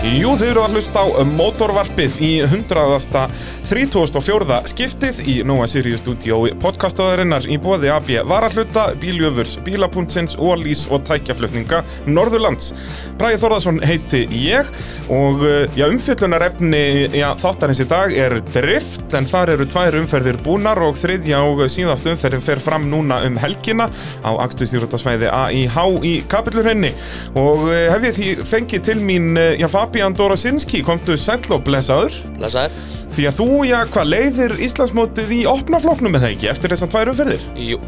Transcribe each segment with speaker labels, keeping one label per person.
Speaker 1: Jú, þið eru að hlusta á mótorvarpið í 100. 34. skiptið í Nóa Sirius Studio podcastaðarinnar í bóði AB Varahluta, Bíljöfurs, Bílapuntsins, Ólís og tækjaflutninga Norðurlands. Bræði Þorðarsson heiti ég og eh, já, umfyllunarefni já, þáttarins í dag er drift en þar eru tvær umferðir búnar og þriðja og síðast umferðin fer fram núna um helgina á akstuðstýrjóttasvæði AIH í kapillurhenni og eh, hef ég því fengið til mín eh, já, Fabian Dorosinski, komdu sæll og blessaður
Speaker 2: Lesaður
Speaker 1: því að þú, já, hvað leiðir Íslandsmótið í opnafloknum með það ekki eftir þessar tvær umferðir
Speaker 2: Jú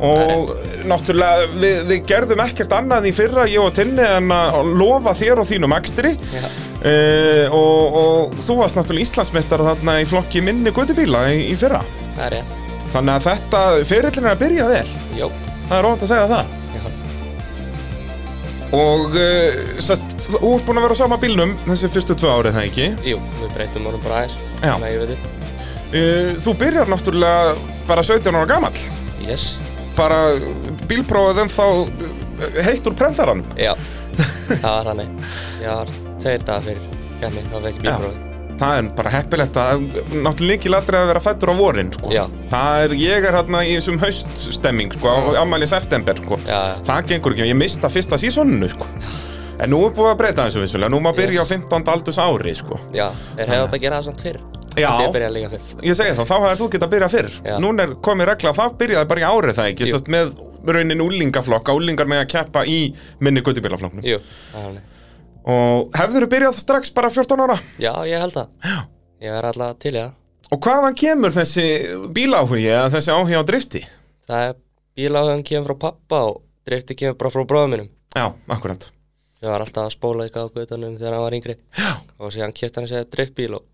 Speaker 1: og náttúrulega við, við gerðum ekkert annað í fyrra ég og Tinni en að lofa þér og þínum ekstri
Speaker 2: Já.
Speaker 1: Uh, og, og þú varst náttúrulega Íslandsmeistar þarna í flokki minni gutubíla í, í fyrra
Speaker 2: Það er rétt
Speaker 1: þannig að þetta fyrirlin er að byrja vel
Speaker 2: Jú
Speaker 1: það er ofant að segja það
Speaker 2: Já
Speaker 1: Og uh, sest, þú ert búin að vera á sama bílnum þessi fyrstu tvö árið það ekki
Speaker 2: Jú, við breytum honum bara aðeins
Speaker 1: Já.
Speaker 2: Nei, ég veit þið
Speaker 1: uh, Þú byrjar náttúrulega bara 17 ára gamall
Speaker 2: Yes
Speaker 1: bara bílprófið en þá heitt úr prentarann
Speaker 2: Já Það var hann Já, tveir dagar fyrir Kæmi, það var ekki
Speaker 1: Já.
Speaker 2: bílprófið
Speaker 1: Það er bara heppilegt að náttúrulega líki ladrið að vera fættur á vorin sko.
Speaker 2: Já.
Speaker 1: Það er, ég er hérna í þessum hauststemming sko, á- ámæli september sko.
Speaker 2: Já, já
Speaker 1: Það gengur ekki, ég mista fyrsta sísoninu sko. En nú er búið að breyta þessu vissulega, nú má byrja
Speaker 2: Yes.
Speaker 1: á 15. aldurs ári sko.
Speaker 2: Já, er hefðið átt að gera það samt fyrr
Speaker 1: Já.
Speaker 2: Það er byrjað líka fyrr
Speaker 1: Ég segi það, þá hefði þú getað að byrja fyrr
Speaker 2: Já.
Speaker 1: Núna er komið regla að það byrjaði bara í árið það ekki
Speaker 2: Jú.
Speaker 1: Sest með raunin úlingaflokka, úlingar með að keppa í minni guttubílaflokknum
Speaker 2: Jú, það er hann
Speaker 1: Og hefðurðu byrjað strax bara 14 ára
Speaker 2: Já, ég held það
Speaker 1: Já.
Speaker 2: Ég er alltaf til í það
Speaker 1: Og hvaðan kemur þessi bíláhugi eða þessi áhugi á drifti?
Speaker 2: Það er bíláðum kemur frá pappa og drifti kemur bara frá bróðum mínum
Speaker 1: Já, akkurat
Speaker 2: Ég var alltaf að spóla eitthvað á gutunum þegar hann var yngri
Speaker 1: Já.
Speaker 2: og síðan kipti hann sér driftbíl og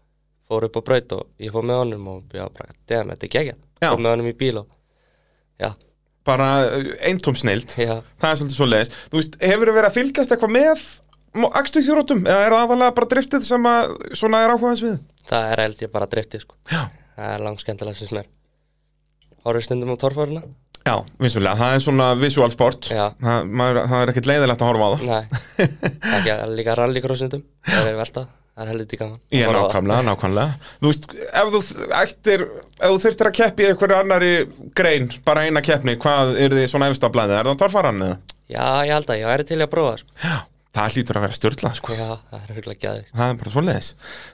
Speaker 2: fór upp á braut og ég fór með honum og ég var bara, damn, þetta er gegja
Speaker 1: Já.
Speaker 2: fór með honum í bíl og já,
Speaker 1: Bara eintóm sneild
Speaker 2: já,
Speaker 1: Það er svolítið svo leiðis Þú veist, hefurðu verið að fylgjast eitthvað með Akstuðþjórótum eða er það aðalega bara driftið sem að svona er áhugaðans við?
Speaker 2: það er held ég bara drifti sko.
Speaker 1: Já.
Speaker 2: það er langskendalegt sem er horfðu stundum á torfarina
Speaker 1: Já, vissulega, það er svona visual sport
Speaker 2: Já.
Speaker 1: það, maður, það er ekkert leiðilegt að horfa á það
Speaker 2: nei, ekki að- líka rallycrossundum það er velta, það er heldur gaman
Speaker 1: Ég
Speaker 2: Horfa á það.
Speaker 1: nákvæmlega, nákvæmlega Þú veist, ef þú ættir ef þú þyrftir að keppi í einhverju annari grein bara eina keppni, hvað er þið svona efstablaðið, er það torfaran eða?
Speaker 2: já, ég held að, ég væri til í að prófa sko.
Speaker 1: Já, það hlýtur að vera styrla sko.
Speaker 2: já, það er huglega gæði
Speaker 1: það er bara svoleiðis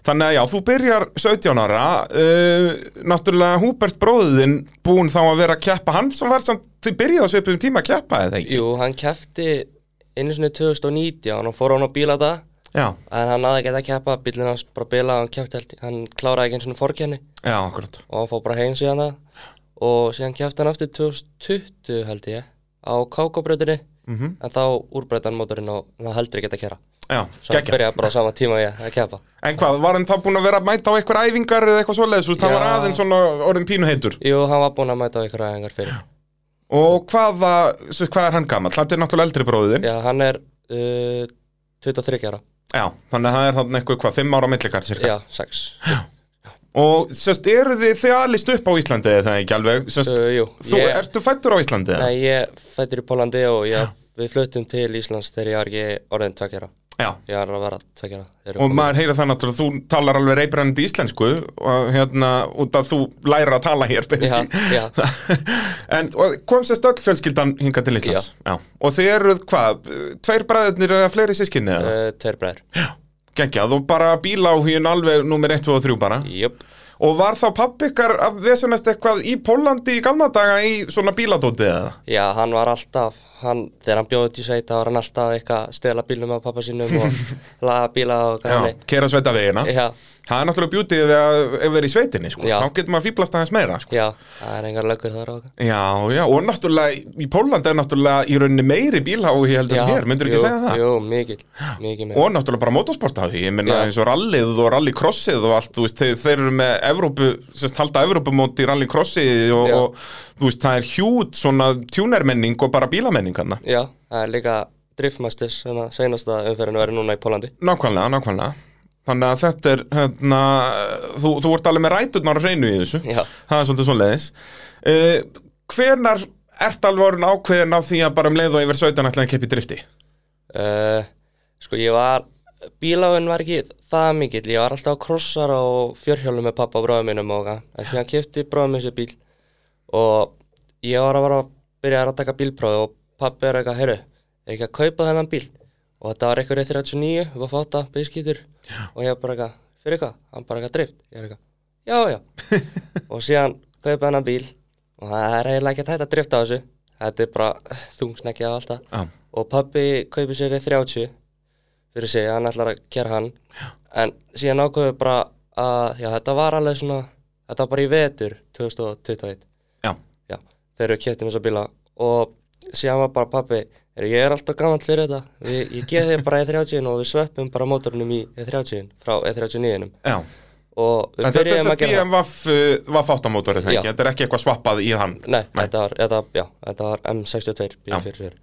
Speaker 1: Þannig að já, þú byrjar 17 ára uh, Náttúrulega Húbert bróðin búinn þá að vera að keppa hann sem var samt, þið byrjaði á svipum tíma að keppa eða ekki?
Speaker 2: jú, hann kefti einu sinni 2019 og fór hann á bíla það
Speaker 1: Já,
Speaker 2: En hann náði ekki að keppa, bílinn hans bara bila og hann kefti held, hann kláraði ekki eins og fórkenni
Speaker 1: já, akkurat
Speaker 2: og hann fór bara heim síðan það og síðan kefti hann aftur 2020 held ég á kákobröðinni
Speaker 1: Mhm.
Speaker 2: en þá úrbreyta hann mótorinn og hann heldur ekki að kera
Speaker 1: Já,
Speaker 2: svo hann
Speaker 1: geggja
Speaker 2: byrjaði bara á sama tíma og ég að keppa
Speaker 1: En hvað, var hann þá búinn að vera að mæta á eitthvað æfingar eða eitthvað svoleiðis, þú veist, hann
Speaker 2: Já.
Speaker 1: var aðeins svona orðin pínu heitur
Speaker 2: Jú, hann var búinn að mæta á ykkur aðeingar fyrir
Speaker 1: Og hvaða, sem sagt, hvað er hann gammal? Hann er náttúrulega eldri bróðin.
Speaker 2: Já, hann er uh, 23 ára
Speaker 1: Já, þannig að það er þannig eitthvað hvað, fimm ára millikar cirka.
Speaker 2: Já, 6
Speaker 1: Og sérst, eru þið þið alist upp á Íslandi eða það ekki alveg? Sérst,
Speaker 2: uh, Jú,
Speaker 1: þú,
Speaker 2: ég,
Speaker 1: ertu fættur á Íslandi?
Speaker 2: nei, ég fættur í Pólandi og ég, við fluttum til Íslands þegar ég var ekki orðin tveggjara
Speaker 1: Já.
Speaker 2: Ég var að vera tveggjara
Speaker 1: Og maður heyra það náttúrulega, þú talar alveg reybrennandi íslensku og hérna, út að þú læra að tala hér,
Speaker 2: Já, já
Speaker 1: en og kom sérst öll fjölskyldan hinga til Íslands já. og þið eruð hvað, tveir bræðurnir eða fleiri sískinni eða?
Speaker 2: Uh, Tveir bræður
Speaker 1: Gengjað og bara bíláhugin alveg númer 1, 2 og 3 bara
Speaker 2: Jöp
Speaker 1: Og var þá pappi ykkar að vesenast eitthvað í Pólandi í gamla daga í svona bíladóti eða?
Speaker 2: Já, hann var alltaf hann, Þegar hann bjóði til sveita var hann alltaf eitthvað að stela bílnum af pappa sínum og laga bíla og hvað hann
Speaker 1: Kera sveita vegina.
Speaker 2: Já,
Speaker 1: Það er náttúrulega bjútið við að ef við erum í sveitinni, sko.
Speaker 2: Já.
Speaker 1: Þá getur maður fýblast aðeins meira, sko.
Speaker 2: já, það er engar löggur þar og
Speaker 1: Já, já, og náttúrulega í Pólandi er náttúrulega í rauninni meiri bílháhugi heldur
Speaker 2: Já,
Speaker 1: en hér, myndur ekki
Speaker 2: jú,
Speaker 1: segja það?
Speaker 2: Jú, mikil, mikil meira
Speaker 1: Og náttúrulega bara motorsportháhugi, ég minna
Speaker 2: Já.
Speaker 1: eins og rallið og rallycrossið og allt, þú veist, þeir, þeir eru með Evrópu, sérst, halda Evrópumót í rallycrossi og,
Speaker 2: Já.
Speaker 1: og, þú veist, það er hjút svona tjúnermenning og bara bílamenning hann.
Speaker 2: Já, það er líka driftmasters þannig að seinasta umferðinu verið núna í Pólandi
Speaker 1: Nákvæmlega, nákvæmlega Þannig að þetta er, hérna, þú, þú ert alveg með ræturnar að reynu í þessu
Speaker 2: Já.
Speaker 1: Það er svolítið svoleiðis uh, Hvenar ert alveg orðin ákveðin á því að bara um leið og yfir 17 ætlaði að keppi drifti?
Speaker 2: uh, Eh, Sko, ég var bíláinn var ekki það mikill, ég var alltaf á krossar og fjörhjólum með pappa og bróðum minnum og það. En hérna kefti bróðum þessi bíl og ég var að vera að byrja að taka bílprófi og pappi er eitthvað, heyrðu, er ekki að kaupa þennan bíl? Og þetta var eitthvað 39, við varum fáta, beiskýtur og ég var bara eitthvað, fyrir eitthvað, hann bara eitthvað drift, ég er eitthvað, já, já. og síðan kaupa þennan bíl og það er eiginlega ekki hægt að drifta á þessu, þetta er bara þungsnækjað og alltaf.
Speaker 1: Já,
Speaker 2: Og pappi kaupir sér 30 fyrir sig, hann ætlar að gera hann. Já. En síðan ákveðu bara að, já, þetta var alveg svona, þetta var bara í vetur 2021
Speaker 1: já,
Speaker 2: já, þegar við keftum um þessa bíla og síðan var bara pappi "Heyrðu, ég er alltaf gaman fyrir þetta við, ég gef þér bara E30 og við sveppum bara mótorunum í E E30 frá E39
Speaker 1: já.
Speaker 2: og
Speaker 1: En
Speaker 2: við
Speaker 1: þetta er
Speaker 2: byrjum
Speaker 1: þess
Speaker 2: að
Speaker 1: að
Speaker 2: gera það
Speaker 1: BMW var fáttamótorið eh, það
Speaker 2: Já.
Speaker 1: ekki, þetta er ekki eitthvað svappað í hann.
Speaker 2: Nei, þetta var, þetta, já, þetta var M62
Speaker 1: Já.
Speaker 2: B44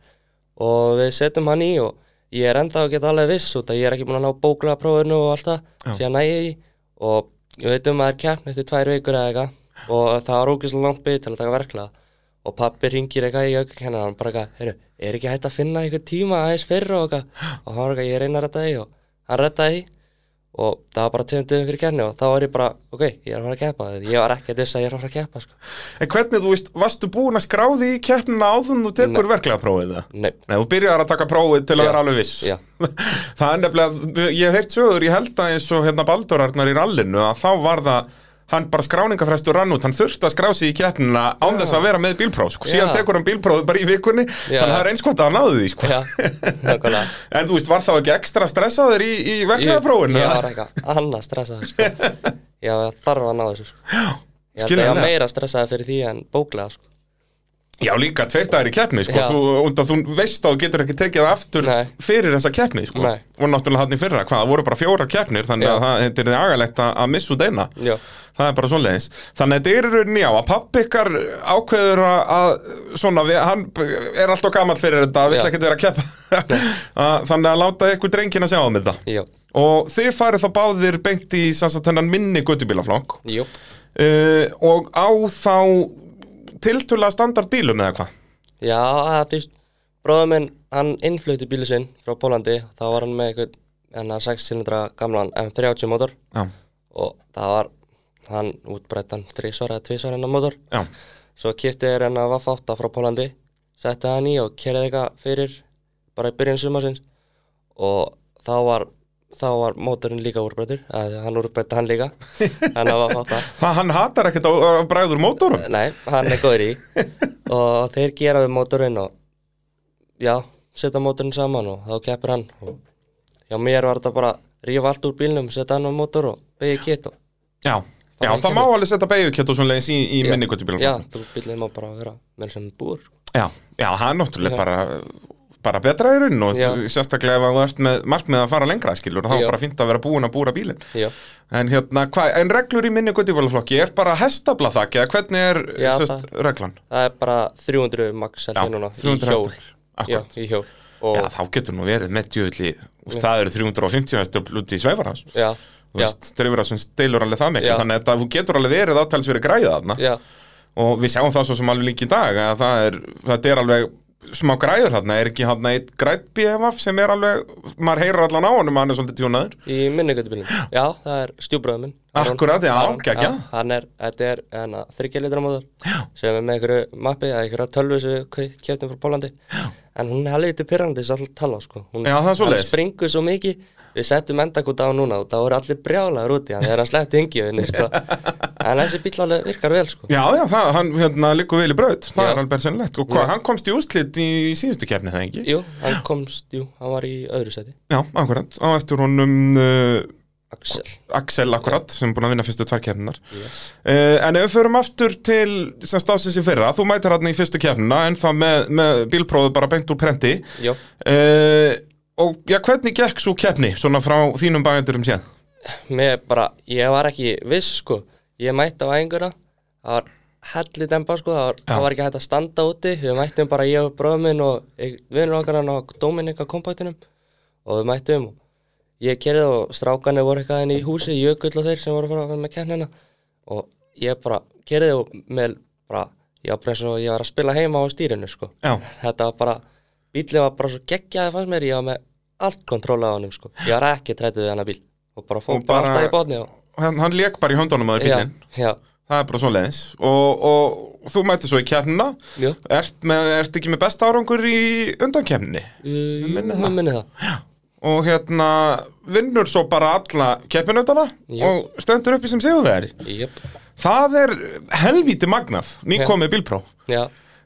Speaker 2: og við setjum hann í og ég er enda að geta alveg viss út að ég er ekki búin að ná bóklega prófinu og allt það síðan næ ég í og við veitum að það er keppn eftir tvær vikur eða eitthvað og það var ógeðslega langt byggt til að taka verklega og pappi ringir eitthvað í aukennar hann bara eitthvað, heyrðu, er ekki hægt að finna einhver tíma aðeins fyrir og eitthvað og hann var eitthvað, ég reyna að retta því og hann rettaði því og það var bara tveim dögum fyrir kenni og þá var ég bara, ok, ég er að fara að keppa ég var ekki að dissa að ég er að fara að keppa sko.
Speaker 1: En hvernig, þú veist, varstu búin að skráði í keppnina áður en þú tekur verklega prófið það?
Speaker 2: Nei,
Speaker 1: Nei, þú byrjar að taka prófið til að
Speaker 2: Já.
Speaker 1: vera alveg viss
Speaker 2: Já.
Speaker 1: Það er nefnilega, ég hef heyrt sögur, ég held að eins og hérna Baldur Arnar í rallinu að þá var það, hann bara skráningafrestur rann út, hann þurfti að skrá sig í keppnina án þess að vera með bílpróf, sko, síðan
Speaker 2: Já.
Speaker 1: tekur hann bílprófið bara í vikunni, þannig
Speaker 2: Já.
Speaker 1: að það er eins gott að hann náði því, sko
Speaker 2: Já, nákvæmlega
Speaker 1: En þú veist, var þá ekki ekstra stressaður í, í verklega prófinu?
Speaker 2: Ég var eitthvað annað stressaður sko. Já, ég þarf að ná þessu sko. Ég held að ég var
Speaker 1: skiljanlega.
Speaker 2: meira stressaður fyrir því en bóklega sko.
Speaker 1: Já, líka tveir dagar í keppni, sko,
Speaker 2: Já.
Speaker 1: þú, und að þú veist að þú getur ekki tekið það aftur
Speaker 2: Nei.
Speaker 1: fyrir þessa keppni, sko
Speaker 2: Nei.
Speaker 1: Og náttúrulega hann í fyrra, hvað, það voru bara fjórar keppnir, þannig
Speaker 2: Já.
Speaker 1: að það þetta er agalegt að, að missa út eina
Speaker 2: Já,
Speaker 1: Það er bara svoleiðis. Þannig að þetta er í rauninni á að pappi ykkar ákveður að, að svona, við, hann er alltaf gammal fyrir þetta, vill
Speaker 2: Já.
Speaker 1: ekkert vera að keppa. Að- Þannig að láta ykkur drengin að sjá um þetta.
Speaker 2: já,
Speaker 1: Og þið farið þá báðir beint í sem sagt, þennan minni göttubílaflokk
Speaker 2: jú
Speaker 1: uh, og á þá tiltölulega standard bílum eða hvað.
Speaker 2: Já, það þú veist Bróður minn, hann innflutti bílu sinn frá Pólandi Þá var hann með einhvern hennar 6 silindra gamlan M30 mótor
Speaker 1: Já,
Speaker 2: Og það var hann útbrettan 3 svara eða 2 svara hennar mótor
Speaker 1: já,
Speaker 2: Svo kipti þér hennar Vaff 8 frá Pólandi Setti hann í og kerði eitthvað fyrir Bara í byrjun sumarsins Og þá var Þá var mótorinn líka úrbrettur eða Hann úrbretti hann líka Hann var Vaff 8
Speaker 1: það hann hatar ekkert að að bræður mótorum.
Speaker 2: Nei, hann er góður í Og þeir gera við mótorinn og Já, setja mótorinn saman og þá keppir hann og Já, mér var þetta bara Rífa allt úr bílnum, setja hann á mótor og Begið kitt og
Speaker 1: Já, já
Speaker 2: hann
Speaker 1: það má
Speaker 2: kemur.
Speaker 1: alveg setja beigukett og svoleiðis í, í
Speaker 2: Já.
Speaker 1: minni göttubílaflokk.
Speaker 2: Já, þú bílinn má bara vera Menn sem búr
Speaker 1: Já, já, það er náttúrulega bara bara betra í raun og
Speaker 2: Já.
Speaker 1: sérstaklega ef þú ert með markmið að fara lengra skilur þá er
Speaker 2: Já.
Speaker 1: bara fínt að vera búin að búra bílinn
Speaker 2: Já,
Speaker 1: en hérna, hva, en reglur í minni guttibólaflokki er bara hestabla þakki eða hvernig er
Speaker 2: Já,
Speaker 1: sérst, reglan?
Speaker 2: það er bara 300 max held
Speaker 1: Já,
Speaker 2: ég núna
Speaker 1: 300
Speaker 2: í hjól.
Speaker 1: hestöfl, akkurat.
Speaker 2: Já, í hjól og,
Speaker 1: Já, þá getur nú verið með djöfulli og það eru 350 hestöfl út í sveifarhans
Speaker 2: Já,
Speaker 1: þú
Speaker 2: já,
Speaker 1: veist, dreifur að sem steilur alveg það mikið
Speaker 2: Já.
Speaker 1: þannig að þetta- þú getur alveg verið átælsverið græða þarna
Speaker 2: já,
Speaker 1: og við sjáum það svo sem alveg líka í dag að það er, þetta er alveg smá græður þarna, er ekki hann eitt græð BMF sem er alveg, maður heyrir allan á honum að hann er svolítið tjónaður
Speaker 2: í minningötubílum Já, það er stjúbröðum minn Aron.
Speaker 1: Akkurat, já,
Speaker 2: Aron,
Speaker 1: geggja.
Speaker 2: já, Hann er, þetta er en að þryggja litra móður sem er með einhverju mappi eða einhverju tölvu sem við kjöftum frá Pólandi já. en hún er helviti pyrrandi þess að alltaf tala sko hún,
Speaker 1: Já, það er svoleiðis.
Speaker 2: Hann springur svo mikið Við settum endakúta á núna og það voru allir brjálaður úti hann er að sleppti yngiðinni sko. en þessi bíl alveg virkar vel sko.
Speaker 1: Já, já, það, hann hérna liggur vel í braut, það
Speaker 2: Já.
Speaker 1: er alveg sennilegt og hvað, hann komst í úrslit í síðustu kefni það ekki?
Speaker 2: Jú, hann komst, jú, hann var í öðru seti
Speaker 1: Já, akkurat, á eftir honum uh,
Speaker 2: Axel
Speaker 1: Axel akkurat, sem er búin að vinna fyrstu tvær kefninar
Speaker 2: yes.
Speaker 1: Uh, en ef við förum aftur til sem stafsins í fyrra, þú mætir hann í fyrstu kefnina en það með, með bílprófið bara beint úr prenti
Speaker 2: Jó,
Speaker 1: uh, Og já, hvernig gekk svo keppni, svona frá þínum bæjandurum séð?
Speaker 2: mér bara, ég var ekki viss sko Ég mætti á æfinguna, það var helli dempa sko Það var, það var ekki hægt að standa úti Við mættum bara ég og bróðum minn og vinnur okkar hann á Dominika kompaktinum Og við mættum og ég kerði og strákanir voru eitthvað inn í húsi Jökull og þeir sem voru að fara að vera með kennina Og ég bara kerði og með bara Ég var bara eins og ég var að spila heima á stýrinu sko
Speaker 1: Já,
Speaker 2: þetta var bara, bílið var bara svo geggjaði fannst mér, ég var með allt kontróla á honum sko. Ég var ekki trætið við hann bíl og bara fór
Speaker 1: Og bara-
Speaker 2: alltaf í botni og
Speaker 1: Hann, hann lék bara í höndunum að
Speaker 2: já,
Speaker 1: bílinn
Speaker 2: já,
Speaker 1: Það er bara svo leiðis og, og þú mætti svo í kjarnina
Speaker 2: jú,
Speaker 1: ert, með, ert ekki með besta árangur í undankemni
Speaker 2: ég
Speaker 1: minni það.
Speaker 2: minni það
Speaker 1: og hérna vinnur svo bara alla keppinöndana
Speaker 2: Jú.
Speaker 1: og stendur uppi sem sigurvegari
Speaker 2: Jöp,
Speaker 1: Það er helvíti magnað nýkomið bílpró
Speaker 2: já,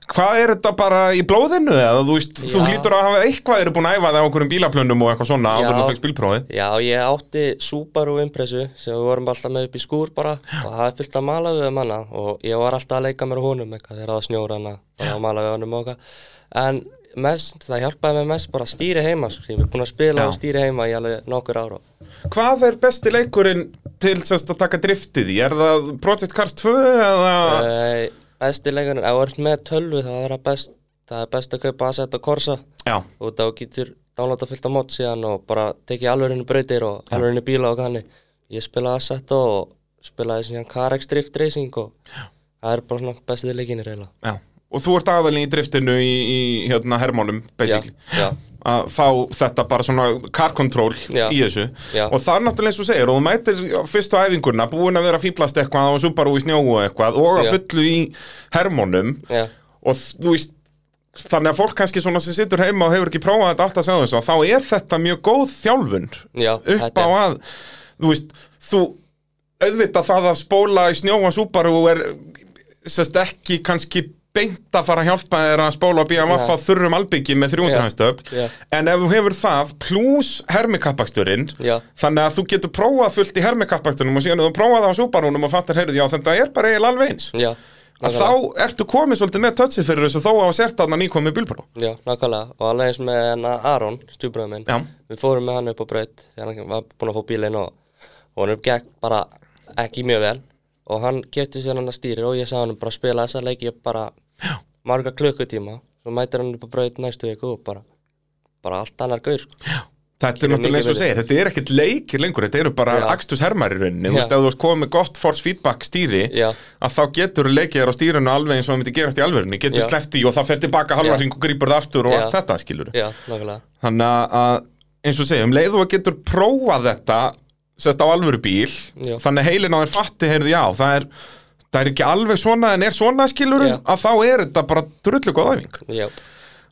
Speaker 1: Hvað er þetta bara í blóðinu eða þú veist, þú
Speaker 2: Já.
Speaker 1: lítur að hafa eitthvað eru búin að æfa það á einhverjum bílaplönum og eitthvað svona
Speaker 2: Já.
Speaker 1: áður en þú fegst bílprófið
Speaker 2: já, ég átti Subaru impressu sem við vorum alltaf með upp í skúr bara og það er fyllt að mala við manna um og ég var alltaf að leika mér á honum eitthvað þegar það snjóra hana bara að mala við honum og eitthvað en mest, það hjálpaði mér mest bara að stýri heima sko, ég er búin að spila
Speaker 1: Já.
Speaker 2: og stýri heima í alveg nokkur ára
Speaker 1: Hvað er besti leikurinn til sérst að taka driftið í? Er það Project Cars 2 eða...
Speaker 2: Æ, Eh, Besti leikurinn, ef þú ert með tölvu það er að best, það er best að kaupa Assetto Corsa
Speaker 1: Já,
Speaker 2: og þá getur downloada fullt á mót síðan og bara tekið alvörinu brautir og alvörinu bíla og kanni ég spilaði Assetto og spilaði síðan Carex Drift Racing og það er bara svona bestið leikinir eiginlega
Speaker 1: já Og þú ert aðalinn í driftinu í, í hérna hermónum, basically
Speaker 2: já,
Speaker 1: að fá þetta bara svona car control
Speaker 2: Já.
Speaker 1: í þessu
Speaker 2: Já.
Speaker 1: og það er náttúrulega eins og þú segir og þú mætir á fyrstu æfinguna búin að vera að fýblast eitthvað og svo bara úr í snjó og eitthvað og að
Speaker 2: Já.
Speaker 1: fullu í hermónum
Speaker 2: já,
Speaker 1: og þú veist þannig að fólk kannski svona sem situr heima og hefur ekki prófað þetta allt að segja þess að þá er þetta mjög góð þjálfun
Speaker 2: já
Speaker 1: upp á að þú veist, þú auðvitað það að spóla í snjóa súparu er sérst ekki kannski beint að fara að hjálpa þér að spóla og býja að vaffa þurrum albyggi með 300
Speaker 2: Já.
Speaker 1: hænstöp
Speaker 2: Já.
Speaker 1: en ef þú hefur það pluss hermikappaksturinn
Speaker 2: Já.
Speaker 1: þannig að þú getur prófað fullt í hermikappaksturinn og síðan ef þú prófað það á súparunum og fattar heyrðu já þetta er bara eiginlega alveg eins
Speaker 2: já,
Speaker 1: að
Speaker 2: nákvæmlega.
Speaker 1: þá ertu komið svolítið með touchið fyrir þessu þó á sértarnan nýkomið bílbara
Speaker 2: Já, nákvæmlega og alveg eins með hennar Aron, stjúbröðum minn
Speaker 1: Já.
Speaker 2: Við fórum með hann upp á braut þegar hann var búinn að fá bílinn og, og hann uppgekk bara ekki mjög vel og hann kefti sér hann að stýri og ég sagði hann bara að spila þessa leiki bara Já. marga klukkutíma svo mætir hann upp á braut næstu viku og bara bara allt annar gaur sko.
Speaker 1: Þetta er náttúrulega eins og segja, þetta er ekkert leikir lengur þetta eru bara
Speaker 2: Já.
Speaker 1: akstus hermar í rauninni þú
Speaker 2: Já.
Speaker 1: veist, ef þú ert komið með gott force feedback stýri
Speaker 2: Já,
Speaker 1: að þá getur leikið þér á stýrinu alveg eins og það myndi gerast í alvörinu, getur
Speaker 2: Já.
Speaker 1: sleppt í og það fer tilbaka halva
Speaker 2: Já.
Speaker 1: hring og grýpur það aftur og
Speaker 2: Já.
Speaker 1: allt þetta skilur
Speaker 2: já, nákvæmlega
Speaker 1: þannig að- að eins og segja, um leið og að getur prófað þetta sérst á alvöru bíl
Speaker 2: Já.
Speaker 1: þannig heilin á þér fatti, heyrðu já það er, það er ekki alveg svona en er svona skilur
Speaker 2: Já.
Speaker 1: að þá er þetta bara drullu góð æfing
Speaker 2: Já,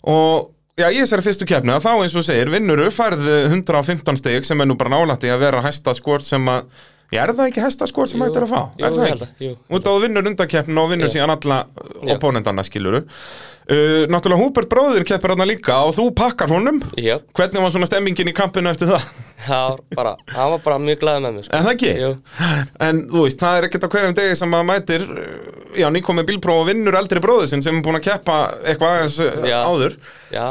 Speaker 1: og já, í þessari fyrstu keppni að þá eins og þú segir, eh, vinnuru færð 115 steg sem er nú bara nálætti að vera hæsta skort sem að Já, er það ekki hæsta skort sem
Speaker 2: Jú,
Speaker 1: hægt er að fá?
Speaker 2: jú,
Speaker 1: er það
Speaker 2: ég held
Speaker 1: ekki?
Speaker 2: það, jú.
Speaker 1: Út að þú vinnur undankeppnin og vinnur
Speaker 2: Já.
Speaker 1: síðan alla
Speaker 2: Já.
Speaker 1: opponentana skiluru. Uh, náttúrulega Húbert bróðir keppir hann líka og þú pakkar honum.
Speaker 2: já,
Speaker 1: Hvernig var svona stemmingin í kampinu eftir það?
Speaker 2: það var bara, hann var bara mjög glaðið með mér sko.
Speaker 1: En það ekki?
Speaker 2: Jú,
Speaker 1: En þú veist, það er ekkert á hverjum degi sem maður mætir, uh, já, nýkomið bílpróf og vinnur eldri bróður sinn sem er búin að keppa eitthvað aðeins uh,
Speaker 2: Já.
Speaker 1: áður.
Speaker 2: já,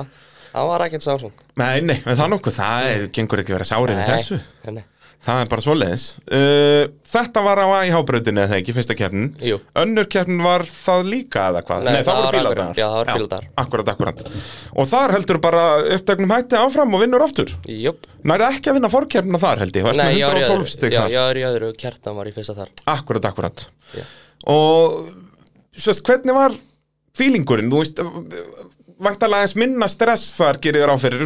Speaker 2: hann var ekkert sko. sáfum
Speaker 1: Nei, nei, en það er nokkuð, það er, gengur ekki að vera sárið í þessu
Speaker 2: Nei, nei,
Speaker 1: Það er bara svoleiðis uh, Þetta var á AIH-brautinu eða ekki, fyrsta keppnin
Speaker 2: Jú.
Speaker 1: Önnur keppnin var það líka eða hvað?
Speaker 2: Nei,
Speaker 1: það
Speaker 2: það
Speaker 1: voru
Speaker 2: var
Speaker 1: bíladagar
Speaker 2: akkurat- já, það voru bíladagar.
Speaker 1: Akkurat, akkurat Og þar heldur bara upptöknum hætti áfram og vinnur aftur
Speaker 2: jöp
Speaker 1: Nærði ekki að vinna fórkeppnina þar held ég Þú ert
Speaker 2: Nei,
Speaker 1: með
Speaker 2: ég var í
Speaker 1: 112
Speaker 2: öðru,
Speaker 1: stygg
Speaker 2: já,
Speaker 1: þar
Speaker 2: ég var í öðru og kjartan var í fyrsta þar
Speaker 1: Akkurat, akkurat
Speaker 2: Já.
Speaker 1: Og sérst, hvernig var fílingurinn? Þú veist, vantalega eins minna stress þar gerir þér á fyrir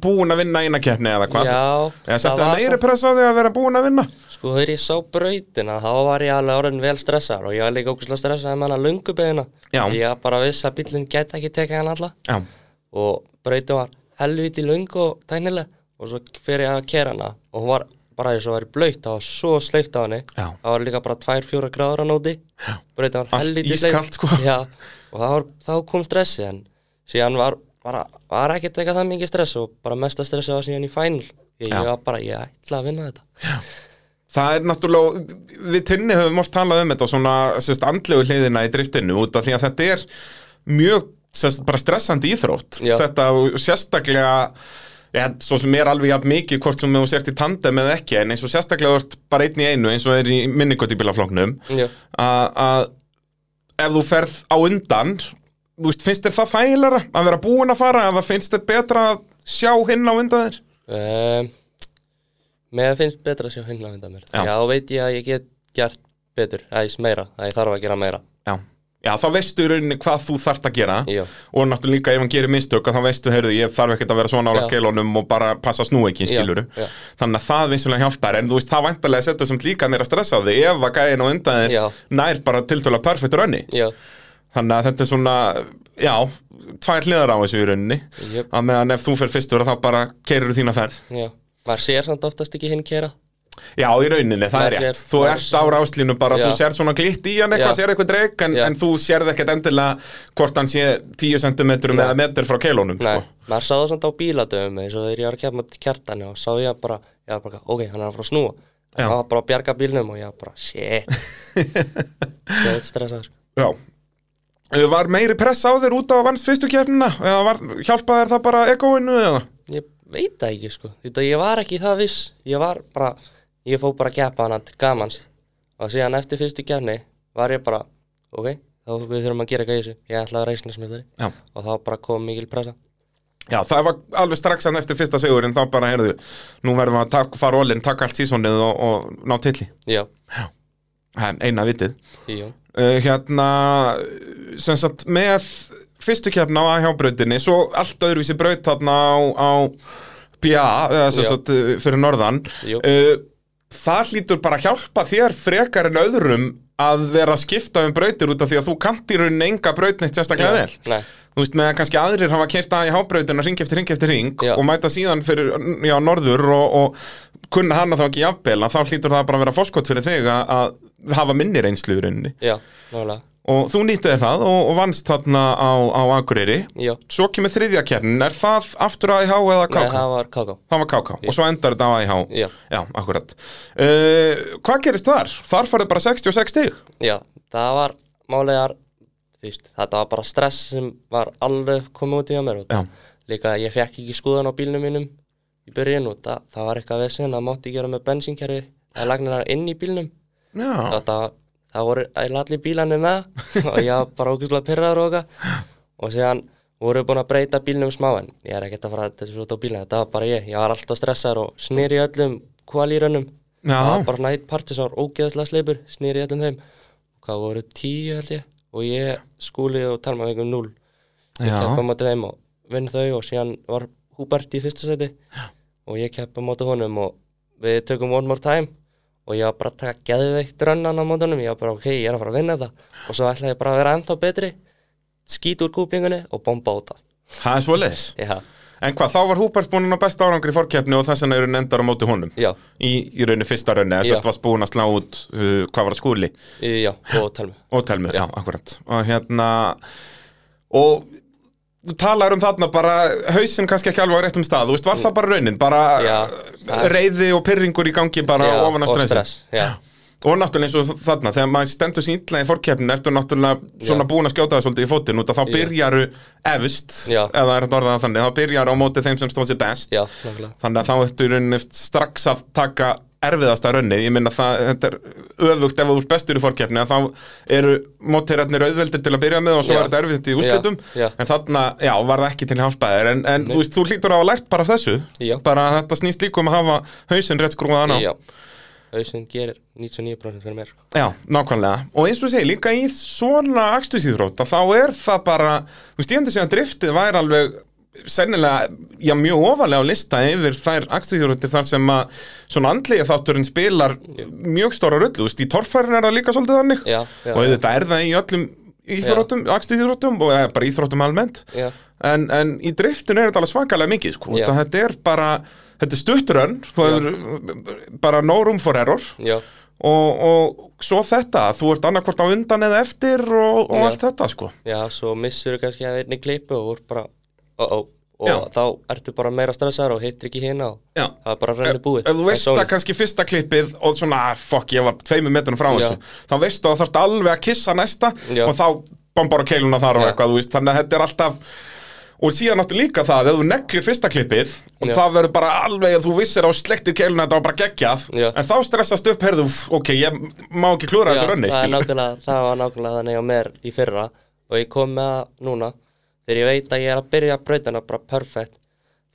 Speaker 1: Búin að vinna eina keppni eða hvað?
Speaker 2: Já,
Speaker 1: Eða setja
Speaker 2: var
Speaker 1: meiri
Speaker 2: samt-
Speaker 1: pressa á þig að vera búin að vinna
Speaker 2: Sko þegar ég sá brautina þá var ég alveg orðin vel stressar og ég var líka ógustlega stressað með hana lungubeðina
Speaker 1: Já.
Speaker 2: Ég bara viss að bílinn gæti ekki tekið hann alla
Speaker 1: Já,
Speaker 2: og brautin var helviti lung og tæknileg og svo fer ég að kera hana og hún var bara eins og var í blöyt það var svo sleift á henni
Speaker 1: Já.
Speaker 2: það var líka bara 2-4 gráður á nóti brautin var
Speaker 1: Allt
Speaker 2: helviti
Speaker 1: ískalt, sko.
Speaker 2: Já, og það var, þá kom stressi en síðan var, bara, var ekki teka það mikið stress og bara mesta stressi var síðan í final ég,
Speaker 1: Já.
Speaker 2: ég var bara, ég ætla að vinna þetta
Speaker 1: það er náttúrulega, við tinni höfum oft talað um þetta svona sérst, andlegu hliðina í driftinu út af því að þetta er mjög sérst, bara stressandi íþrótt
Speaker 2: Já.
Speaker 1: þetta og sérstaklega ja, svo sem er alveg jafn mikið hvort sem þú sért í tandem eða ekki en eins og sérstaklega þú ert bara einn í einu eins og er í minningotibílaflóknum
Speaker 2: Já,
Speaker 1: að ef þú ferð á undan þú veist, finnst þér það þægilega að vera búin að fara eða finnst þér betra að sjá hinn á undan þér
Speaker 2: um, með finnst betra að sjá hinn að vinda mér
Speaker 1: Já.
Speaker 2: Já, veit ég að ég get gert betur, eða ég meira, að ég þarf að gera meira
Speaker 1: Já Já, þá veistu í rauninni hvað þú þarft að gera
Speaker 2: Já.
Speaker 1: og náttúrulega líka ef hann gerir mistök að þá veistu, heyrðu, ég þarf ekkert að vera svona álega
Speaker 2: Já.
Speaker 1: keilunum og bara passa snú ekki,
Speaker 2: Já,
Speaker 1: skiluru
Speaker 2: já.
Speaker 1: þannig að það vissulega hjálpar, en þú veist, það væntalega setur sem líka hann er að stressa á þig ef að gæðin og undan
Speaker 2: Já.
Speaker 1: þér nær bara tiltöla perfect runni
Speaker 2: já,
Speaker 1: þannig að þetta er svona, já tvær hliðar á þessu í rauninni
Speaker 2: Jöp.
Speaker 1: að meðan ef þú fer fyrstur þá bara keirir þína ferð
Speaker 2: já. Maður sér samt oftast ekki hinn kera.
Speaker 1: Já, í rauninni, það er
Speaker 2: Maður
Speaker 1: rétt
Speaker 2: er-
Speaker 1: Þú
Speaker 2: maður
Speaker 1: ert á ráslínu bara,
Speaker 2: Já.
Speaker 1: þú sér svona glitt í hann eitthvað,
Speaker 2: Já.
Speaker 1: sér eitthvað dreik en,
Speaker 2: Já.
Speaker 1: en þú sérð ekkert endilega hvort hann sé 10 cm eða metr frá keilónum
Speaker 2: Nei,
Speaker 1: sko.
Speaker 2: maður sá það samt á bíladöfum eins og þegar ég var að kemja til kjartani og sá ég bara, ég var bara, ok, hann er að fara að snúa.
Speaker 1: Já.
Speaker 2: Það var bara að bjarga bílnum og ég var bara, shit. Það er stressaður.
Speaker 1: Já Eh, Var meiri press á þér út á vannst fyrstu kefnina eða var, hjálpaði þér það bara egoinu eða?
Speaker 2: Ég veit það ekki, sko. Þetta ég var ekki það viss. Ég var bara, ég fó bara að keppa hana til gamans. Og síðan eftir fyrstu kefni var ég bara, ok, þá við þurfum að gera eitthvað í þessu. Ég ætla að reysnismestari.
Speaker 1: Já.
Speaker 2: Og þá bara kom mikil pressa.
Speaker 1: Já, það var alveg strax hann eftir fyrsta sigurinn þá bara, heyrðu, nú verðum við að tak, fara ólinn, taka allt sísonið og, og ná tilli
Speaker 2: Já,
Speaker 1: Það er eina vitið
Speaker 2: já,
Speaker 1: uh, hérna sem sagt með fyrstu keppna á AHJ-brautinni svo allt öðruvísi braut þarna á, á BA eða sem
Speaker 2: Já.
Speaker 1: sagt uh, fyrir norðan
Speaker 2: Jú.
Speaker 1: uh, það hlýtur bara að hjálpa þér frekar en öðrum að vera að skipta um brautir út af því að þú kannt í rauninni enga braut neitt sérstaklega
Speaker 2: Nei,
Speaker 1: vel
Speaker 2: nei.
Speaker 1: þú veist með að kannski aðrir hafa kert að í hábrautina ring eftir ring eftir ring
Speaker 2: Já.
Speaker 1: og mæta síðan fyrir já, norður og, og kunna hana þá ekki jafnvel að þá hlýtur það bara að vera foskott fyrir þig að, að hafa minni reynslu í rauninni
Speaker 2: já, nálega,
Speaker 1: og þú nýttið það og, og vannst þarna á, á Akureyri
Speaker 2: já.
Speaker 1: svo kemur þriðja keppnin, er það aftur AIH eða KK?
Speaker 2: Nei, það var káká.
Speaker 1: það var KK og svo endar þetta á AIH
Speaker 2: Já.
Speaker 1: akkurat uh, Hvað gerist þar? Þar farið bara 66 stig
Speaker 2: Já, það var málegar víst, þetta var bara stress sem var alveg komið út í að mér og
Speaker 1: Já,
Speaker 2: líka ég fekk ekki skoðan á bílnum mínum í byrjun og það, það var eitthvað vesinn að mátti gera með bensínkerfi að lagna inn í bílnum
Speaker 1: já,
Speaker 2: þetta, það voru eiginlega allir bílarnir með og ég var bara ógustlega pyrraður og eitthvað og síðan voru búin að breyta bílnum smá en ég er ekkert að fara þessu út á bílnum þetta var bara ég, ég var alltaf stressaður og snýri öllum kvalírunum
Speaker 1: já.
Speaker 2: það var bara svona eitt partur sem var ógeðslega sleipur snýri öllum þeim hvað voru tíu held ég og ég skúli og talma um 0 ég
Speaker 1: Já.
Speaker 2: keppa á móti þeim og vinn þau og síðan var Húbert í fyrsta seti Já. og ég keppa á móti honum og við tökum one more time og ég var bara að taka geðveikt rönnan á mótunum ég var bara ok, ég er að fara að vinna þetta og svo ætlaði ég bara að vera ennþá betri skýt úr kúplingunni og bomba út af
Speaker 1: það er svo leiðis
Speaker 2: Já,
Speaker 1: En hvað, þá var Húbert búinn á besta árangri í fórkeppni og þess vegna eru endar á móti honum
Speaker 2: já,
Speaker 1: í, í rauninu fyrsta rauninu,
Speaker 2: Já.
Speaker 1: þess að varst búinn að slá út uh, hvað var að skúli
Speaker 2: í- já, og talma
Speaker 1: og telmur, já, akkurat og hérna og þú talar um þarna bara hausinn kannski ekki alveg á réttum stað, þú veist, var það bara raunin bara
Speaker 2: Já.
Speaker 1: reyði og pyrringur í gangi bara
Speaker 2: Já,
Speaker 1: ofan á
Speaker 2: og
Speaker 1: stressi
Speaker 2: stress, já,
Speaker 1: og náttúrulega eins og þarna, þegar maður stendur sér ítlaði í fórkeppnin, ertu náttúrulega svona
Speaker 2: Já.
Speaker 1: búin að skjóta það svolítið í fótinn út að þá
Speaker 2: Já.
Speaker 1: byrjaru efst,
Speaker 2: Já.
Speaker 1: eða er þetta orðað það þannig þá byrjaru á móti þeim sem stóð sér best
Speaker 2: já, nákvæmlega
Speaker 1: þannig að þá ertu í rauninni strax að taka erfiðasta raunnið, ég minna það þetta er öfugt ef þú ert bestur í fórkeppni að þá eru mótherjarnir auðveldir til að byrja með og svo
Speaker 2: Já.
Speaker 1: er þetta erfitt í úrslitum
Speaker 2: Já, já.
Speaker 1: en þarna, já, var það ekki til hjálpaðir en, en þú veist, þú hlýtur á að hafa lært bara af þessu
Speaker 2: Já.
Speaker 1: bara að þetta snýst líka um að hafa hausinn rétt skrúðan á
Speaker 2: Já, hausinn gerir 99% fyrir mér
Speaker 1: Já, nákvæmlega. Og eins og ég segi, líka í svona akstuðsýþrótt, þá er það bara, þú veist, ég hendur síðan driftið væri alveg sennilega, já, mjög ofalega á lista yfir þær akstuðsýþróttir þar sem að svona andlega þátturinn spilar mjög stóra rullu, þú veist, í torfærin er það líka svolítið þannig
Speaker 2: Já, já,
Speaker 1: og
Speaker 2: já.
Speaker 1: þetta er það í öllum íþróttum, akstuðsýþróttum og eða, bara íþróttum almennt
Speaker 2: Já,
Speaker 1: en, en í driftinu er þetta alveg svakalega mikið sko,
Speaker 2: Já.
Speaker 1: þetta, þetta er bara, þetta er stuttrönn, þú hefur bara no room for error
Speaker 2: já,
Speaker 1: og, og svo þetta, þú ert annarkvort á undan eða eftir og, og
Speaker 2: Já.
Speaker 1: allt þetta sko
Speaker 2: já, svo missur þú kannski að einni klippu og voru bara, ó, ó, og
Speaker 1: Já.
Speaker 2: þá ertu bara meira stressaður og hittir ekki hina og
Speaker 1: Já.
Speaker 2: það er bara renni búið
Speaker 1: Ef þú veist
Speaker 2: Það
Speaker 1: að
Speaker 2: er sólið.
Speaker 1: kannski fyrsta klippið og svona, ah, fuck, ég var tveimur metrunum frá
Speaker 2: Já.
Speaker 1: þessu þá veistu að þú þarft alveg að kissa næsta
Speaker 2: Já.
Speaker 1: og þá bombar á keiluna þar og
Speaker 2: Já.
Speaker 1: eitthvað, þú veist, þannig að þetta er alltaf og síðan áttu líka það, ef þú neglir fyrsta klippið og
Speaker 2: Já.
Speaker 1: það verður bara alveg að þú vissir á slektir keiluna þetta var bara geggjað
Speaker 2: Já.
Speaker 1: en þá stressast upp, heyrðu, úff, ok, ég má ekki klúra
Speaker 2: Já,
Speaker 1: þessu rönni,
Speaker 2: það, er
Speaker 1: skilur
Speaker 2: nákvæmlega, það var nákvæmlega þannig á mér í fyrra og ég kom með það núna þegar ég veit að ég er að byrja að brautina bara perfect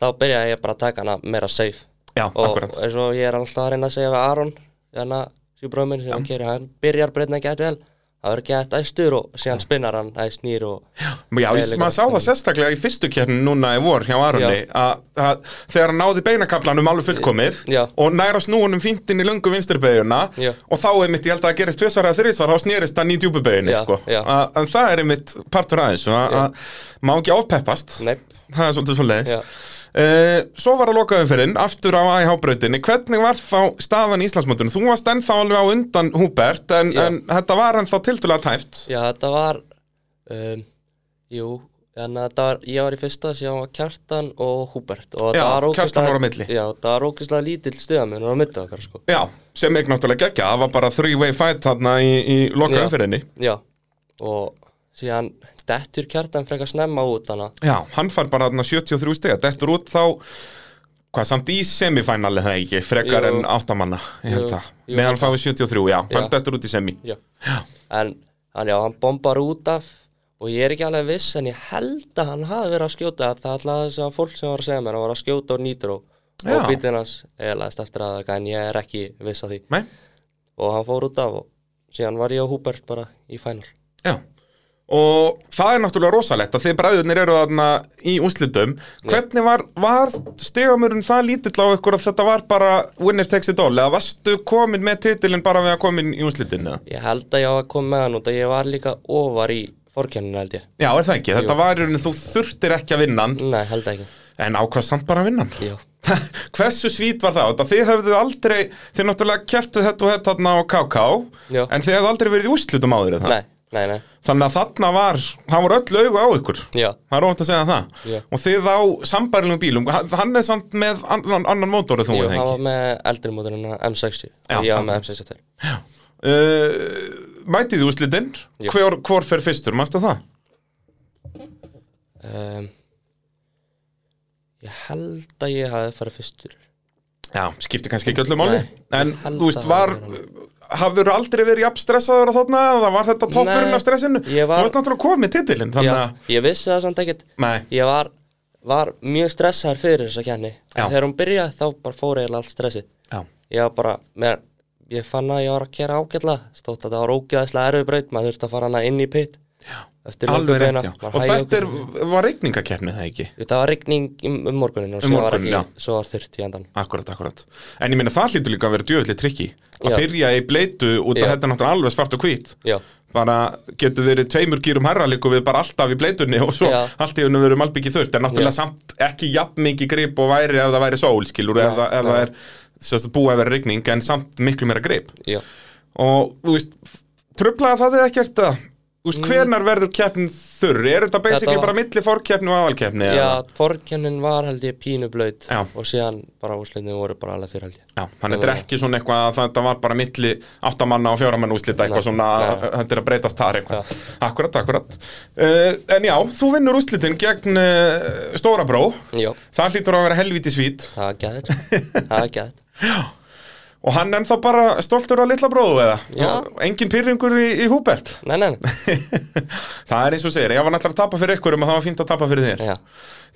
Speaker 2: þá byrja ég bara að taka hana meira safe
Speaker 1: Já,
Speaker 2: og
Speaker 1: akkurat.
Speaker 2: eins hérna, og ég er alltaf að reyna að segja við Aron þannig að síðbróðum minn sem hann keri hann byrjar breytna gett vel það verður gett æstur og síðan spinnar hann æst nýr og
Speaker 1: Já, ég,
Speaker 2: Veðurleikar.
Speaker 1: maður sá það sérstaklega í fyrstu kérni núna í vor hjá Arunni
Speaker 2: Já.
Speaker 1: að að þegar hann náði beinakablanum alveg fullkomið
Speaker 2: Já.
Speaker 1: og næra snúunum fíntinn í lungu vinstirbeginna
Speaker 2: Já.
Speaker 1: og þá einmitt, ég held að það gerist tvisvar eða þrísvar, þá snerist hann í djúbubeginni
Speaker 2: Já,
Speaker 1: sko.
Speaker 2: já.
Speaker 1: A- en það er einmitt partur aðeins að að má ekki ofpeppast
Speaker 2: Nei.
Speaker 1: það er svolítið svona
Speaker 2: Já.
Speaker 1: leiðis Svo var að lokaðum fyrir aftur á AIH-brautinni hvernig var þá staðan í Íslandsmótinu? Þú varst ennþá alveg á undan Húbert en,
Speaker 2: Já.
Speaker 1: en þetta var ennþá tildulega tæft
Speaker 2: Já, þetta var um, Jú, þannig að þetta var Ég var í fyrsta, síðan var Kjartan og Húbert
Speaker 1: Já,
Speaker 2: og þetta var
Speaker 1: Kjartan
Speaker 2: ógeðslega-
Speaker 1: var á milli.
Speaker 2: Já, það var ógeðslega lítill stuðamenn á milli okkar sko
Speaker 1: Já, sem ekki náttúrulega geggja, það var bara three-way fight þarna í, í loka
Speaker 2: Já.
Speaker 1: umfyrinni.
Speaker 2: Já, og síðan dettur Kjartan frekar snemma út hana
Speaker 1: Já, hann fær bara þarna 73 stiga, dettur út þá, hvað samt í semifinali það ekki, frekar
Speaker 2: Jú.
Speaker 1: en áttamanna, ég held
Speaker 2: Jú,
Speaker 1: að.
Speaker 2: jú,
Speaker 1: Meðan fáið 73, já, hann
Speaker 2: Já.
Speaker 1: dettur út í semi.
Speaker 2: Já. En hann, já, hann bombar út af og ég er ekki alveg viss en ég held að hann hafi verið að skjóta það er alltaf þess að fólk sem var að segja mér að var að skjóta og nýtur og
Speaker 1: Já.
Speaker 2: og bílinn hans eðlaðist eftir að en ég er ekki viss að því
Speaker 1: Nei,
Speaker 2: og hann fór út af og síðan var ég og Húbert bara í fænal
Speaker 1: já. Og það er náttúrulega rosalegt að þið bræðurnir eru þarna í úslitum. Hvernig var, var stigamurinn það lítill á ykkur að þetta var bara winner takes it all? Eða varstu komin með titilinn bara við að komin í úslitinu?
Speaker 2: Ég held að ég hafa komið með hann út að ég var líka ofar í fórkenninu held ég
Speaker 1: Já, er það ekki? Þetta var í rauninni, þú þurftir ekki að vinna hann
Speaker 2: Nei, held ekki
Speaker 1: En ákvað samt bara að vinna hann
Speaker 2: Já,
Speaker 1: Hversu svít var það? Þetta þið höfðu aldrei Þið náttúrulega keftuð þetta og þetta þarna á KK
Speaker 2: Já.
Speaker 1: En þið hefðu aldrei verið í úrslutum áður en það.
Speaker 2: nei, nei, nei
Speaker 1: Þannig að þarna var Það voru öll augu á ykkur
Speaker 2: Já,
Speaker 1: Það er óvænt að segja það
Speaker 2: Já.
Speaker 1: Og þið á sambærilegum bílum Hann- Hann er samt með annan, annan mótorið þú
Speaker 2: Jú,
Speaker 1: er það
Speaker 2: hann
Speaker 1: ekki
Speaker 2: var með eldri móturinn M60
Speaker 1: Já,
Speaker 2: og ég var með
Speaker 1: akkurat.
Speaker 2: M62
Speaker 1: uh, Mætið í úrslitinn
Speaker 2: Jú.
Speaker 1: hvor, hvor fer fyrstur, manstu það?
Speaker 2: um, Ég held að ég hafi farið fyrstur
Speaker 1: Já, skipti kannski ekki öllu máli
Speaker 2: Nei,
Speaker 1: En
Speaker 2: ég held
Speaker 1: þú veist,
Speaker 2: að
Speaker 1: var
Speaker 2: það hafi
Speaker 1: Hafður aldrei verið jafn stressaður að þarna eða var þetta toppurinn
Speaker 2: Nei,
Speaker 1: af stressinu?
Speaker 2: ég
Speaker 1: Þú
Speaker 2: var-
Speaker 1: varst náttúrulega komið titilinn þannig að
Speaker 2: Já, ég vissi það samt ekkert
Speaker 1: Nei,
Speaker 2: Ég var, var mjög stressaður fyrir þess að kenni
Speaker 1: Já.
Speaker 2: En þegar hún byrjaði þá bara fór eiginlega allt stressið
Speaker 1: já,
Speaker 2: Ég var bara, mér, ég fann að ég var að kera ágætlega Stótt að það var ógæðislega erfið braut Maður þurfti að fara hana inn í pit Já,
Speaker 1: alveg rétt já Og þetta er, var reikningakeppni það ekki?
Speaker 2: Það var rigning um um morguninn og
Speaker 1: Um
Speaker 2: svo var
Speaker 1: morguninn,
Speaker 2: ekki,
Speaker 1: já.
Speaker 2: svo var þurft í endan
Speaker 1: Akkurat, akkurat En ég meina það hlýtur líka að vera djöfulli trikki Að
Speaker 2: Já.
Speaker 1: byrja í bleitu út að
Speaker 2: Já.
Speaker 1: þetta er náttúrulega alveg svart og hvít
Speaker 2: Já,
Speaker 1: Bara getur verið tveimur gýrum herra líku við bara alltaf í bleitunni og svo
Speaker 2: Já.
Speaker 1: allt í unum verum malbyggi þurft En náttúrulega
Speaker 2: Já.
Speaker 1: samt ekki jafn mikið grip og væri ef það væri sól skilur
Speaker 2: Já,
Speaker 1: ef, það- ef
Speaker 2: já.
Speaker 1: það er sérst, búið að vera rigning en samt miklu meira grip
Speaker 2: já
Speaker 1: og þú veist, tröflaði það þig ekkert að þú veist, hvenar verður keppnin þurr er þetta basically
Speaker 2: Mm. Þetta var-
Speaker 1: bara milli fórkeppni og aðalkeppni
Speaker 2: Já,
Speaker 1: eða?
Speaker 2: forkennin var held ég pínu blöyt
Speaker 1: Já.
Speaker 2: og síðan bara úrslitin voru bara alveg þurr held ég
Speaker 1: já, þannig að
Speaker 2: Eh,
Speaker 1: þetta er ekki svona eitthvað að þetta var bara milli áttamanna og fjóramanna úslita eitthvað
Speaker 2: Nei,
Speaker 1: svona,
Speaker 2: nei.
Speaker 1: þetta er að breytast þar eitthvað
Speaker 2: Já.
Speaker 1: akkurat, akkurat uh, en já, þú vinnur úslitin gegn uh, Stóra Bró
Speaker 2: Já,
Speaker 1: það hlýtur að vera helvíti svít
Speaker 2: það var gæðið Það var gæðið
Speaker 1: og hann ennþá bara stoltur á litla bróðu eða
Speaker 2: Já.
Speaker 1: Og engin pyrringur í, í Húbert
Speaker 2: Nei, nei, nei
Speaker 1: það er eins og segir, ég var náttúrulega að tapa fyrir ykkur um að það var fínt að tapa fyrir þér
Speaker 2: Já,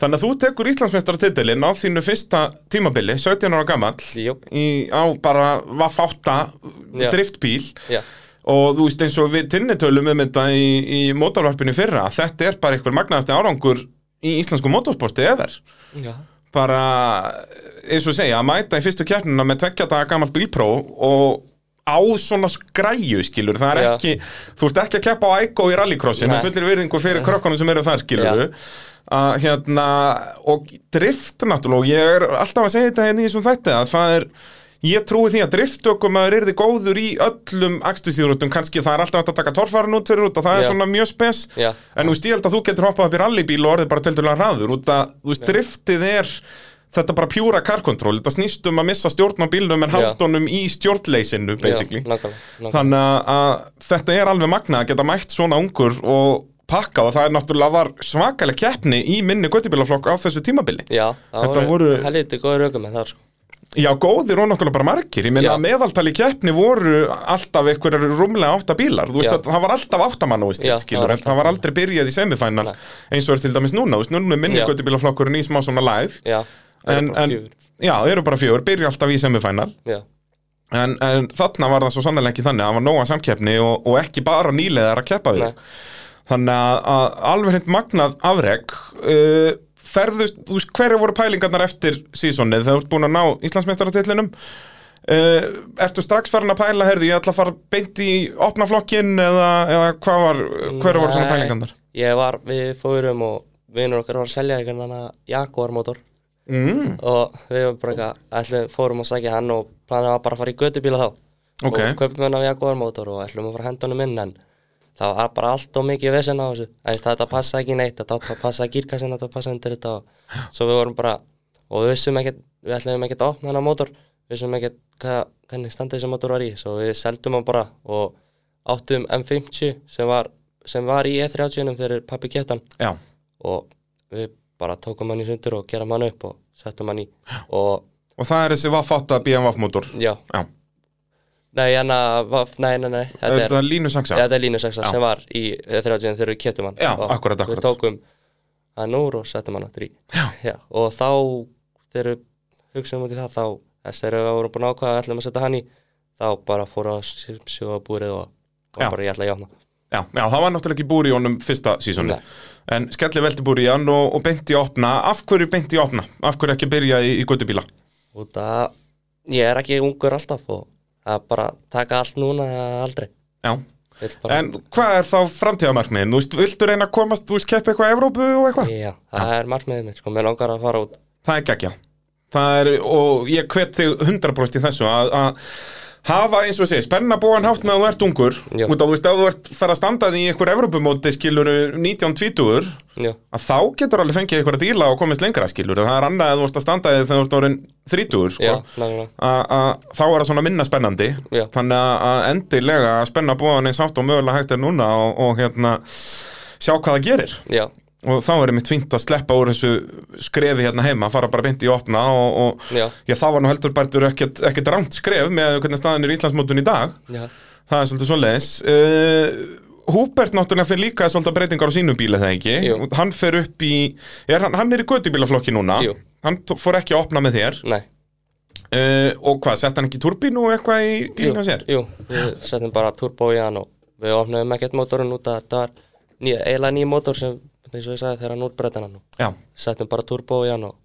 Speaker 1: Þannig að þú tekur Íslandsmeistaratitilinn á þínu fyrsta tímabili, 17 ára gamall
Speaker 2: jú,
Speaker 1: í, á bara vaffátta
Speaker 2: Já.
Speaker 1: driftbíl
Speaker 2: já,
Speaker 1: og þú veist eins og við tinnitölum um þetta í, í mótorvarpinu í fyrra að þetta er bara einhver magnaðasti árangur í íslensku motorsporti efer
Speaker 2: já
Speaker 1: bara eins og segja að mæta í fyrstu kjarnina með tveggja daga gamall bílpró og á svona græju skilur það er
Speaker 2: Já.
Speaker 1: ekki, þú ert ekki að keppa á Aiko í rallycrossi
Speaker 2: Nei.
Speaker 1: með fullir virðingu fyrir krökkunum sem eru þar skilur að hérna og drift náttúrulega, og ég er alltaf að segja þetta hérna í þessum þætti að það er ég trúi því að drift okkur maður er góður í öllum akstuðsýðurutum kannski það er alltaf hægt að taka torfarinn út fyrir út og það er
Speaker 2: Já.
Speaker 1: svona mjög spes
Speaker 2: Já.
Speaker 1: En þú veist, ég held að þú getur hoppað upp í rallybíl og orðið bara tildulega hraður út að, þú veist, driftið er þetta bara pjúra karkontról, þetta snýst um að missa stjórn á bílnum en
Speaker 2: Já.
Speaker 1: halda honum í stjórnleysinu, basically.
Speaker 2: Já, nákvæmlega, nákvæmlega
Speaker 1: Þannig að, að þetta er alveg magna að geta mætt svona ungur og pakka og það er náttúrulega var svakalega keppni í minni göttibílaflokk á þessu tímabili.
Speaker 2: Já, það
Speaker 1: Þetta
Speaker 2: voru,
Speaker 1: voru-
Speaker 2: voru... helviti góður aukum með þar sko
Speaker 1: Já, góðir og náttúrulega bara margir Ég meina
Speaker 2: Já.
Speaker 1: að meðaltali keppni voru alltaf einhverjar rúmlega átta bílar Þú veist
Speaker 2: Já.
Speaker 1: að það var alltaf áttamann úr
Speaker 2: Já,
Speaker 1: stíl
Speaker 2: það
Speaker 1: skilur
Speaker 2: var
Speaker 1: en Það var aldrei byrjað í semifænal
Speaker 2: Nei.
Speaker 1: eins og er til dæmis núna Þú veist, núna er minni
Speaker 2: Já.
Speaker 1: göttubílaflokkurinn í smá svona læð
Speaker 2: Já, það
Speaker 1: En,
Speaker 2: voru bara
Speaker 1: en
Speaker 2: fjögur
Speaker 1: já, eru bara fjögur, byrja alltaf í semifænal
Speaker 2: Já,
Speaker 1: En, en þarna var það svo sannlega ekki þannig, það var nóga samkeppni og, og ekki bara nýleðar að keppa við.
Speaker 2: Nei.
Speaker 1: Þannig að, að alveg hreint magnað afreg, uh, ferðust, þú veist, hverju voru pælingarnar eftir sísonið þegar þú ert búin að ná Íslandsmeistaratitlinum? Uh, ertu strax farin að pæla, heyrðu, ég ætla að fara beint í opna flokkin eða, eða hvað var, hverju voru svona
Speaker 2: Nei.
Speaker 1: pælingarnar?
Speaker 2: Ég var, við fórum og vinnur okkar var að selja einhvern annan Jaguar mótor
Speaker 1: Mm,
Speaker 2: og við varum bara eitthvað, ætlum, fórum að sækja hann og planið var bara að fara í gödubíla þá
Speaker 1: Ok.
Speaker 2: og kaupum hann af Jaguar mótor og ætlum að fara að henda honum inn en það var bara allt og mikið vesen á þessu Æst, þetta passa ekki neitt, þetta átt að passa gírkassin þetta passa undir þetta og svo við vorum bara og við vissum ekkert, við ætlum ekkert að opna hann á mótor við vissum ekkert hvað, hvernig standa þessi mótor var í svo við seldum hann bara og áttum M50 sem var, sem var í E30 þegar pappi getan
Speaker 1: já,
Speaker 2: og við bara tókum hann í sundur og gerum hann upp og settum hann í og
Speaker 1: og það er þessi vaffátta BMW mótor.
Speaker 2: já,
Speaker 1: Já,
Speaker 2: nei, en að nei, nei, nei, þetta er,
Speaker 1: þetta er línu
Speaker 2: ja,
Speaker 1: sangsa.
Speaker 2: þetta er línu 6
Speaker 1: Já.
Speaker 2: sem var í eh, 30 þegar við kjötum hann
Speaker 1: Já,
Speaker 2: og
Speaker 1: akkúrat, akkúrat.
Speaker 2: við tókum hann úr og settum hann aftur í já. og þá þegar við hugsaðum út í það þá þess þegar við vorum búin að ákvaða að við ætlum að setja hann í þá bara fór að sjóða búrið og, og
Speaker 1: Já.
Speaker 2: bara ég ætla að jáfna
Speaker 1: Já, já, það var náttúrulega ekki búri í honum fyrsta sísónu
Speaker 2: Nei.
Speaker 1: En skellir velti búri í hann og, og beinti í opna Af hverju beinti í opna? Af hverju ekki byrja í, í göttubíla?
Speaker 2: út að ég er ekki ungur alltaf og að bara taka allt núna eða aldrei
Speaker 1: Já
Speaker 2: Vill bara-
Speaker 1: En hvað er þá framtíðamarkmiðin? Þú veist, viltu reyna að komast, þú veist, keppa eitthvað í Evrópu og eitthvað?
Speaker 2: Já, það er markmiðið mitt, sko, mér langar að fara út
Speaker 1: Það er gekkja Það er, og ég hvet þig 100% í þessu að, að hafa, eins og ég segi, spenna bóðan hátt með að þú ert ungur
Speaker 2: Já.
Speaker 1: Út að þú veist, ef þú ert fer að standa því í einhver Evrópumóti skiluru 19-20
Speaker 2: Já,
Speaker 1: að þá getur alveg fengið eitthvað að díla og komist lengra skilur, það er annað að þú ert að standa því þegar þú ert orðin 30 sko.
Speaker 2: já, nákvæmlega
Speaker 1: A- að þá er það svona minna spennandi
Speaker 2: Já.
Speaker 1: þannig að- að endilega að spenna búan eins hátt og mögulega hægt er núna og, og hérna sjá hvað það gerir
Speaker 2: Já,
Speaker 1: og þá er mitt fínt að sleppa úr þessu skrefi hérna heima, fara bara beint í opna og, og
Speaker 2: já,
Speaker 1: já, það var nú heldur bærtur ekkert, ekkert rámt skref með hvernig staðin er í Íslandsmótun í dag
Speaker 2: já,
Speaker 1: það er svolítið svoleiðis uh, Húbert náttúrulega fyrir líka svolítið breytingar á sínum bíla þegar ekki
Speaker 2: Jú.
Speaker 1: Og hann fer upp í, er, hann, hann er í götubílaflokki núna
Speaker 2: Jú.
Speaker 1: hann tó- fór ekki að opna með þér
Speaker 2: nei
Speaker 1: Uh, og hvað, sett hann ekki turbínu og eitthvað í
Speaker 2: Jú,
Speaker 1: bílinu á sér?
Speaker 2: jú, við settum bara turbo í hann og við opnaðum ekkert mótorinn út að þetta var ný, eiginlega ný mótor sem, eins og ég sagði, þegar hann útbreytan hann og
Speaker 1: Já,
Speaker 2: settum bara turbo í hann og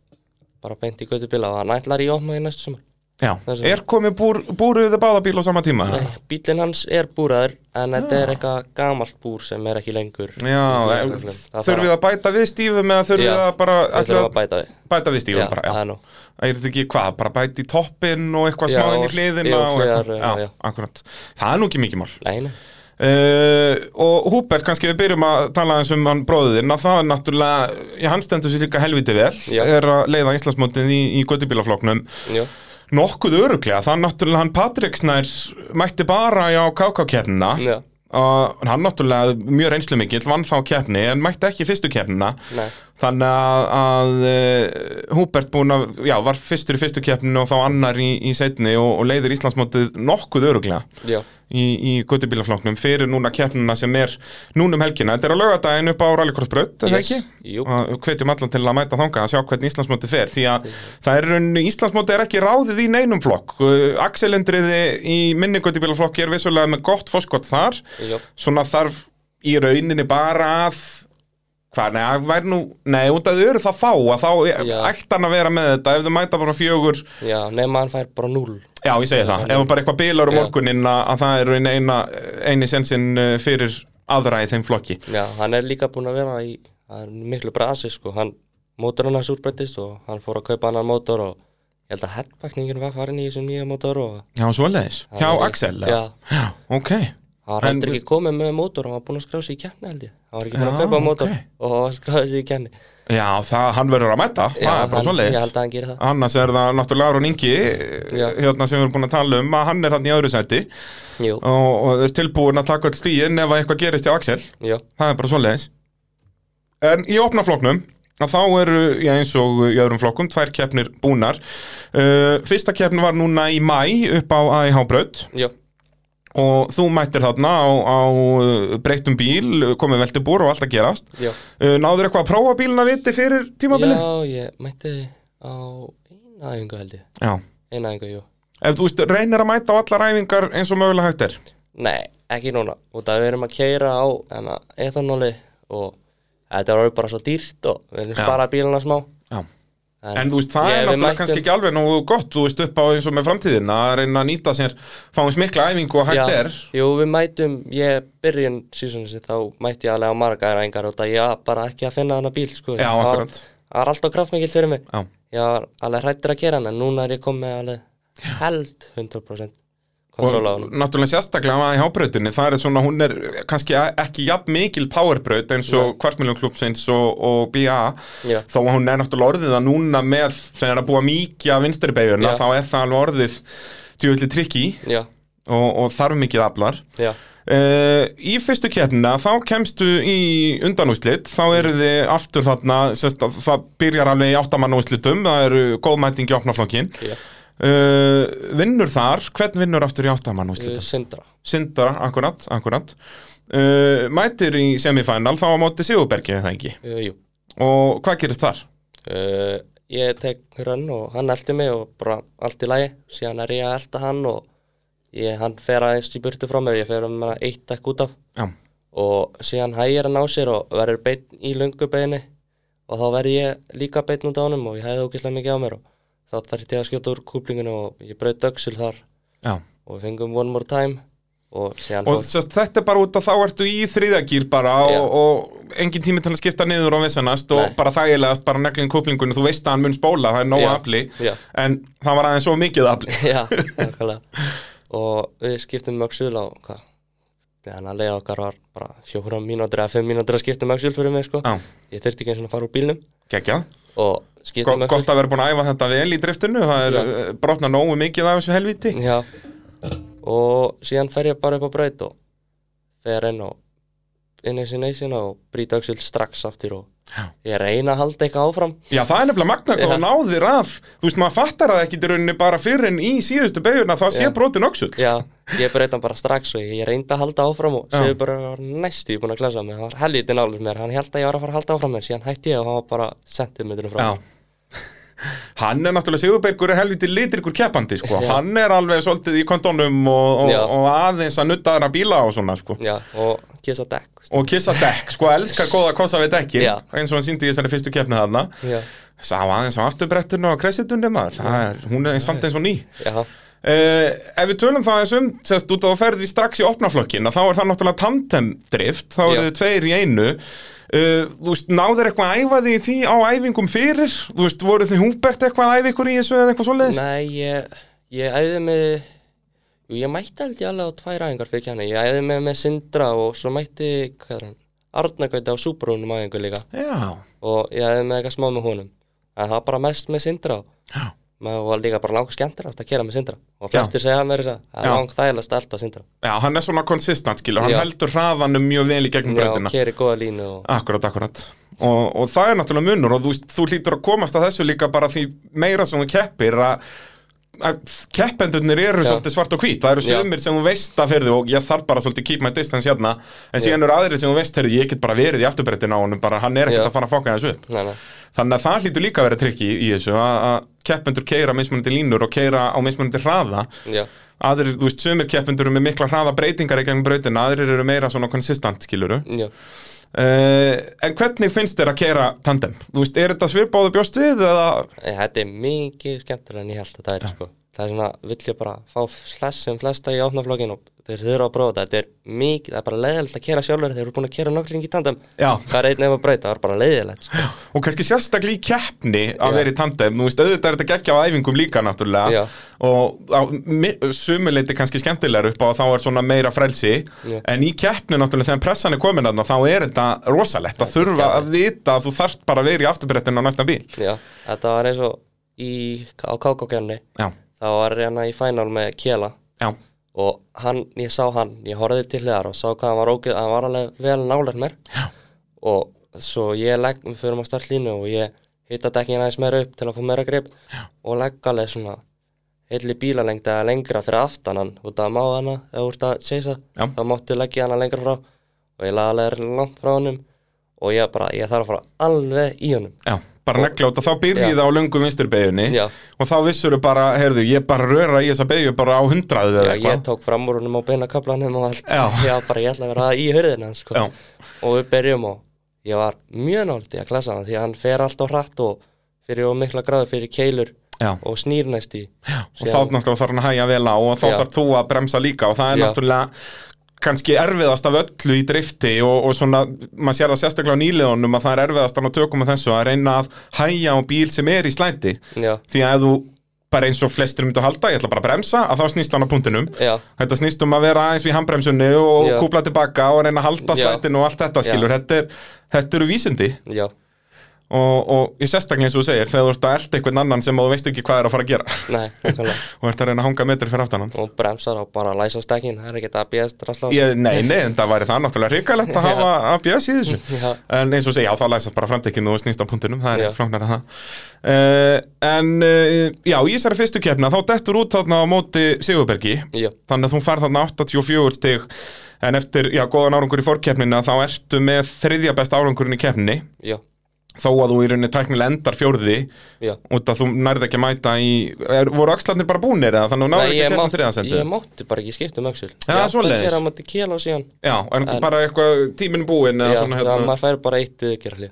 Speaker 2: bara beint í göttubíla og hann ætlar í opna í næstu sumar
Speaker 1: já.
Speaker 2: Það er svo.
Speaker 1: Er komið búr, búruð báða bíl á sama tíma?
Speaker 2: Nei, bílinn hans er búraður en þetta
Speaker 1: Ah.
Speaker 2: er eitthvað gamalt búr sem er ekki lengur
Speaker 1: Já,
Speaker 2: Það þarf-
Speaker 1: þurfið að bæta við stífum eða þurfið
Speaker 2: Já,
Speaker 1: að bara
Speaker 2: Við
Speaker 1: ætla að
Speaker 2: þurfum að bæta við
Speaker 1: bæta við stífum
Speaker 2: Já,
Speaker 1: bara,
Speaker 2: það
Speaker 1: já.
Speaker 2: er nú
Speaker 1: Það er þetta ekki hvað, bara bæta í toppinn og eitthvað
Speaker 2: Já,
Speaker 1: smá inn í
Speaker 2: og-
Speaker 1: hliðina
Speaker 2: jú,
Speaker 1: og
Speaker 2: hliðar,
Speaker 1: eitthvað.
Speaker 2: já,
Speaker 1: Já,
Speaker 2: já.
Speaker 1: akkurat. Það er nú ekki mikið mál.
Speaker 2: Nei, nei,
Speaker 1: Uh, og Húbert, kannski við byrjum að tala eins um hann bróðin að það er náttúrulega, já, hann stendur sér líka helviti vel,
Speaker 2: Já.
Speaker 1: er að leiða Íslandsmótið í, í göttubílafloknum.
Speaker 2: jú,
Speaker 1: Nokkuð öruglega, það er náttúrulega hann Patrik Snær mætti bara í á KK-keppnina
Speaker 2: já,
Speaker 1: og hann náttúrulega mjög reynslu mikill vann þá keppni en mætti ekki fyrstu keppnina
Speaker 2: nei
Speaker 1: þannig að, að eh, Húbert búin að, já, var fyrstur í fyrstu keppninu og þá annar í, í setni og, og leiðir Íslandsmótið nokkuð öruglega
Speaker 2: Já,
Speaker 1: í, í göttubílafloknum fyrir núna keppnina sem er núna um helgina, þetta er á laugardaginn upp á rallycrossbraut, er það
Speaker 2: Yes,
Speaker 1: ekki? Ah.
Speaker 2: jú.
Speaker 1: Og við hvetjum allan til að mæta þangað að sjá hvernig Íslandsmóti fer, því að það er raun, Íslandsmóti er ekki ráðið í neinum flokk Uh, Axelendriði í minni göttubílaflokki er vissulega með gott fórskot þar
Speaker 2: jú,
Speaker 1: svona þarf í rauninni bara að hvað, nei, það væri nú nei, út að þau eru það fá að þá
Speaker 2: Já.
Speaker 1: ætti hann að vera með þetta, ef þau mæta bara fjögur
Speaker 2: já, nema hann fær bara 0
Speaker 1: Já, ég segi það, ef bara eitthvað bilar um
Speaker 2: Já.
Speaker 1: morguninn að, að það er eina, eina, eini sensin uh, fyrir aðra í þeim flokki
Speaker 2: Já, hann er líka búinn að vera í það er miklu brasi, sko hann, mótorinn hans úrbreytist og hann fór að kaupa annan mótor og ég held að herrbækningin var farin í þessum nýja mótor og
Speaker 1: Já, svoleiðis, hjá
Speaker 2: Hann er í-
Speaker 1: Axel eða?
Speaker 2: Já,
Speaker 1: Já, ok
Speaker 2: hann var
Speaker 1: En-
Speaker 2: heldur ekki komið með mótor hann var búinn að skráða sig í kemni held ég hann var ekki búinn
Speaker 1: Já,
Speaker 2: að kaupa mótor
Speaker 1: ok.
Speaker 2: og skráða sig í kemni
Speaker 1: Já, það, hann verður að mæta, það er bara
Speaker 2: hann, ég
Speaker 1: svoleiðis
Speaker 2: held að hann gerir það
Speaker 1: Annars er það náttúrulega Aron Ingi
Speaker 2: Já.
Speaker 1: hérna sem við erum búin að tala um að hann er hann í öðru seti
Speaker 2: Jú,
Speaker 1: og, og er tilbúin að taka öll stíin ef að eitthvað gerist hjá Axel
Speaker 2: já,
Speaker 1: Það er bara svoleiðis En í opna flokknum að þá eru, já eins og í öðrum flokkum, tvær keppnir búnar uh, Fyrsta keppn var núna í mæ upp á AIH Braut
Speaker 2: já,
Speaker 1: og þú mættir þarna á, á uh, breyttum bíl, komið veltibúr og allt að gerast
Speaker 2: já
Speaker 1: uh, Náður eitthvað að prófa bílina viti fyrir tímabilið?
Speaker 2: Já, ég mætti á eina æfingu held ég
Speaker 1: Já.
Speaker 2: eina æfingu, jú
Speaker 1: ef þú veist, reynir að mæta á allar æfingar eins og mögulega hægt er
Speaker 2: Nei, ekki núna út af við erum að keira á enna, etanóli og þetta var bara svo dýrt og við erum
Speaker 1: Já.
Speaker 2: sparað bílana smá
Speaker 1: Já. En þú veist, það
Speaker 2: Ég-
Speaker 1: er
Speaker 2: við
Speaker 1: náttúrulega
Speaker 2: mættum-
Speaker 1: kannski ekki alveg nú gott, þú veist, upp á eins og með framtíðin að reyna að nýta sér, fáins mikla æfingu og hægt
Speaker 2: Já,
Speaker 1: er
Speaker 2: Jú, við mætum, ég byrjun sísunni þá mætti ég alveg á margar engar og það ég var bara ekki að finna hana bíl sko.
Speaker 1: Já,
Speaker 2: Það var-
Speaker 1: akkurat.
Speaker 2: Það var alltaf kraftmikið fyrir mig
Speaker 1: Já,
Speaker 2: Ég var alveg hrættur að gera hann en núna er ég komið alveg held 100% kontrol á
Speaker 1: og
Speaker 2: hann
Speaker 1: náttúrulega sérstaklega að í hábrautinni, það er svona, hún er kannski ekki jafn mikil powerbraut eins og kvartmiljónklubbsins og, og BA
Speaker 2: Já.
Speaker 1: þó að hún er náttúrulega orðið að núna með þegar að búa mikið af vinstribeiguna
Speaker 2: Já.
Speaker 1: þá er það alveg orðið tjóðli trikki
Speaker 2: Já,
Speaker 1: og, og þarf mikið aflar
Speaker 2: já,
Speaker 1: Uh, í fyrstu keppnina þá kemstu í undanúslit þá eru þið aftur þarna sérst, að það byrjar alveg í áttamann úslitum það eru góð mæting í opnaflokkin
Speaker 2: já
Speaker 1: uh, vinnur þar, hvern vinnur aftur í áttamann úslitum?
Speaker 2: Sindra
Speaker 1: Sindra, akkurat, akkurat uh, mætir í semifænal þá á móti Sigurbergi er það ekki
Speaker 2: Jú, jú
Speaker 1: og hvað gerist þar?
Speaker 2: uh, Ég tek rönn og hann eldi mig og bara allt í lagi síðan er ég að elda hann og ég, hann fer aðeins í burtu frá mér ég fer um hana eitt dekk út af
Speaker 1: Já,
Speaker 2: og síðan hægir hann á sér og verður beinn í lungu beinni og þá verður ég líka beinn út á honum og ég hæði ógæslega mikið á mér og þá þarf ég að skjóta úr kúplinginu og ég braut öxul þar
Speaker 1: já
Speaker 2: og við fengum one more time og síðan
Speaker 1: og sérst, þetta er bara út að þá ertu í þriðagýr bara
Speaker 2: Já.
Speaker 1: og, og engin tími til að skipta niður og vissanast og
Speaker 2: Nei.
Speaker 1: bara þægilegast bara neglinn kúplingunni, þú veist að hann mun spóla það er nóg
Speaker 2: Já.
Speaker 1: afli,
Speaker 2: Já.
Speaker 1: en það var aðeins svo mikið afli
Speaker 2: Já, nákvæmlega og við skiptum um öxul á hvað þannig að leiða okkar var bara fjóra mínútur eða fimm mínútur að skipta um öxul fyrir mig sko
Speaker 1: Já.
Speaker 2: ég þurfti ekki eins og að fara úr bílnum
Speaker 1: geggjað,
Speaker 2: og
Speaker 1: Go
Speaker 2: skiptum um
Speaker 1: gott að vera búin að æfa þetta vel í driftinu, það er
Speaker 2: Já.
Speaker 1: Já. brotna nógu mikið af þessu helviti
Speaker 2: Já og síðan fer ég bara upp á braut og fer inn og inn í sinna og brýta öxul strax aftur og
Speaker 1: Já.
Speaker 2: ég reyna að halda eitthvað áfram
Speaker 1: Já, það er nefnilega magna hvað
Speaker 2: Já.
Speaker 1: þú náðir að þú veist, maður fattar það ekki í rauninni bara fyrir en í síðustu beiguna það sé
Speaker 2: Já.
Speaker 1: brotin öxull
Speaker 2: Já, ég breyta hann bara strax og ég reyndi að halda áfram og
Speaker 1: Já.
Speaker 2: séu bara var næstu búin að klasa mig það var helviti nálega mér, hann held að ég var að fara að halda áfram en síðan hætti ég og hann var bara sentimetrum frá
Speaker 1: Já. Hann er náttúrulega Sigurbergur er helviti litrikur keppandi sko.
Speaker 2: Já.
Speaker 1: Hann er alveg svolítið í kondónum og, og,
Speaker 2: Já.
Speaker 1: og aðeins að nutta þarna bíla og svona sko.
Speaker 2: Já, og kissa dekk veist.
Speaker 1: Og kissa dekk, sko, elskar góða kosa við dekkin
Speaker 2: Já.
Speaker 1: eins og hann síndi í þessari fyrstu keppni þarna
Speaker 2: Já,
Speaker 1: Sá aðeins á afturbrettinu og kressitunni maður Það er, hún er samt eins og ný
Speaker 2: já,
Speaker 1: Uh, ef við tölum það eins um sérst, út að þú ferði strax í opnaflokkin að þá er það náttúrulega tandemdrift þá
Speaker 2: Já.
Speaker 1: eru þið tveir í einu uh, þú veist, náður eitthvað að æfa því því á æfingum fyrir, þú veist, voru þið Húbert eitthvað að æfa ykkur í þessu eða eitthvað svoleiðis
Speaker 2: nei, ég, ég æði mig Jú, ég mætti held ég alveg á tvær æfingar fyrir kjanni Ég æði mig með Sindra og svo mætti, hvað er hann Arnagauti á Súbrúnum æfingu líka
Speaker 1: Já,
Speaker 2: og ég æði með eitthvað smá með honum en það var bara mest með Sindra
Speaker 1: Já.
Speaker 2: maður var líka bara langt skemmtirast að kera með Sindra og
Speaker 1: Já.
Speaker 2: flestir segja mér þess að
Speaker 1: Já.
Speaker 2: það er langt þægilegast alltaf Sindra
Speaker 1: Já, hann er svona konsistant skilur, hann
Speaker 2: Já.
Speaker 1: heldur hraðanum mjög vel í gegnum
Speaker 2: og
Speaker 1: breytina
Speaker 2: keri góða línu og
Speaker 1: Akkurat, akkurat og, og það er náttúrulega munur og þú, veist, þú hlýtur að komast að þessu líka bara því meira sem þú keppir að, að keppendurnir eru
Speaker 2: Já.
Speaker 1: svolítið svart og hvít það eru
Speaker 2: Já.
Speaker 1: sömur sem þú veist að fyrir þú og ég þarf bara svolítið keep my distance hérna en síðan eru aðrir sem þú veist herri, ég get bara verið í afturbrettin á honum bara hann er ekkert
Speaker 2: Já.
Speaker 1: að fara að fokka þessu upp
Speaker 2: Nei, nei.
Speaker 1: þannig að það hlýtur líka að vera trikki í, í þessu að, að keppendur keira mismunandi línur og keira á mismunandi hraða
Speaker 2: Já.
Speaker 1: aðrir, þú veist, sömur keppendur eru með mikla hraða breytingar í gangum brautina, aðrir eru meira svona konsistant, skiluru
Speaker 2: Já.
Speaker 1: Uh, en hvernig finnst þér að keira tandem? Þú veist, er þetta svipáðu bjóst við eða...
Speaker 2: Ég, þetta er mikið skemmtilega en ég held að það er sko. það er svona, vill ég bara fá flest sem flesta í opnaflokkin og þeir þurfa að prófa þetta þetta er mikið, það er bara leiðilegt að kera sjálfur þeir eru búin að kera nokkur ringi tandem
Speaker 1: Já.
Speaker 2: það er einn ef að breyta, það er bara leiðilegt sko.
Speaker 1: Og kannski sérstaklega í keppni að
Speaker 2: Já.
Speaker 1: vera í tandem, þú veist, auðvitað er þetta geggja á æfingum líka náttúrulega
Speaker 2: Já.
Speaker 1: og á mi- sumuleyti kannski skemmtilegar upp á að þá er svona meira frelsi
Speaker 2: Já.
Speaker 1: en í keppni náttúrulega þegar pressan er komin þarna þá er þetta rosalegt að þurfa
Speaker 2: geggjaður.
Speaker 1: að vita að þú þarft bara að vera í afturbrettinu á næsta bíl.
Speaker 2: Já, þetta var eins og í, á kákókjarni
Speaker 1: Já,
Speaker 2: þá var hérna í final með Kjela
Speaker 1: já,
Speaker 2: og hann, ég sá hann, ég horfði til hliðar og sá hvað hann var ógið, hann var alveg vel nálega mér Já. og svo ég legg, við förum á startlínu og ég hitta dekkin aðeins meira upp til að fá meira grip Já. og legg alveg svona heilli bílalengda eða lengra fyrir aftan hann út að má hana, eða úr að seisa
Speaker 1: Já.
Speaker 2: þá máttu leggja hana lengra frá og ég laði alveg langt frá honum og ég bara, ég þarf að fara alveg í honum
Speaker 1: já, bara negla út og þá byrjið
Speaker 2: Já.
Speaker 1: það á löngu vinsturbeginni
Speaker 2: Já.
Speaker 1: og þá vissur bara, heyrðu, ég bara röra í þessa begju bara á hundraðið
Speaker 2: Já,
Speaker 1: eða
Speaker 2: ég
Speaker 1: eitthvað
Speaker 2: tók fram úr húnum á beina kaplanum og allt
Speaker 1: Já.
Speaker 2: bara ég ætla að vera í hurðina hans sko.
Speaker 1: Já.
Speaker 2: Og við byrjum og ég var mjög nált í að klasa hann Því að hann fer allt á hratt og fyrir og mikla gráðu fyrir keilur
Speaker 1: Já.
Speaker 2: og snýr næst í Já,
Speaker 1: og þá náttúrulega þarf hann að hæja vel á og þá
Speaker 2: Já.
Speaker 1: þarf þú að bremsa líka og það er
Speaker 2: Já.
Speaker 1: náttúrulega kannski erfiðast af öllu í drifti og, og svona, maður sér það sérstaklega á nýliðunum að það er erfiðast að ná tökum að þessu að reyna að hæja á bíl sem er í slæti
Speaker 2: Já,
Speaker 1: því að ef þú bara eins og flestir myndu að halda, ég ætla bara að bremsa að þá snýst hann á punktinum
Speaker 2: já,
Speaker 1: Þetta snýst um að vera aðeins við handbremsunni og
Speaker 2: Já.
Speaker 1: kúpla tilbaka og reyna að halda
Speaker 2: Já.
Speaker 1: slætinu og allt þetta
Speaker 2: Já.
Speaker 1: skilur þetta, er, þetta eru vísindi
Speaker 2: já
Speaker 1: og, og ég sérstaklega eins og þú segir þegar þú ert að elda einhvern annan sem þú veist ekki hvað er að fara að gera
Speaker 2: Nei, nákvæmlega
Speaker 1: og ert að reyna að hanga metri fyrir aftan hann
Speaker 2: Og bremsar og bara læsa stekkin, það er ekkert ABS drasla á sig.
Speaker 1: ég, Nei, nei, en það væri það náttúrulega hrikalegt að
Speaker 2: Já.
Speaker 1: hafa ABS í þessu
Speaker 2: Já.
Speaker 1: En eins og þú segir, já, þá læsast bara framtekinu og snýst á punktinum, það er
Speaker 2: Já.
Speaker 1: ekkert fráknar að það uh, En, uh, já, í þessari fyrstu keppna, þá dettur út þarna á móti Sigurbergi
Speaker 2: Já,
Speaker 1: þannig að þú færð þarna 84 stig en eftir, já, góðan árangur í fórkeppnina þá ertu með þriðja besta árangurinn í keppninni
Speaker 2: já,
Speaker 1: þó að þú í rauninni tæknilega endar fjórði
Speaker 2: já
Speaker 1: út að þú nærði ekki að mæta í er, voru axlarnir bara búnir eða þannig að þú náður
Speaker 2: Nei,
Speaker 1: ekki að
Speaker 2: ég
Speaker 1: um
Speaker 2: mátti-
Speaker 1: keppna þriðansendi
Speaker 2: Ég mátti bara ekki skipta um öxul
Speaker 1: Já, svoleiðis.
Speaker 2: Ég átti að gera á móti kél og síðan
Speaker 1: já, en, bara eitthvað tíminn búinn eða
Speaker 2: Já,
Speaker 1: svona
Speaker 2: það
Speaker 1: hérna
Speaker 2: maður fær bara eitt viðgerðli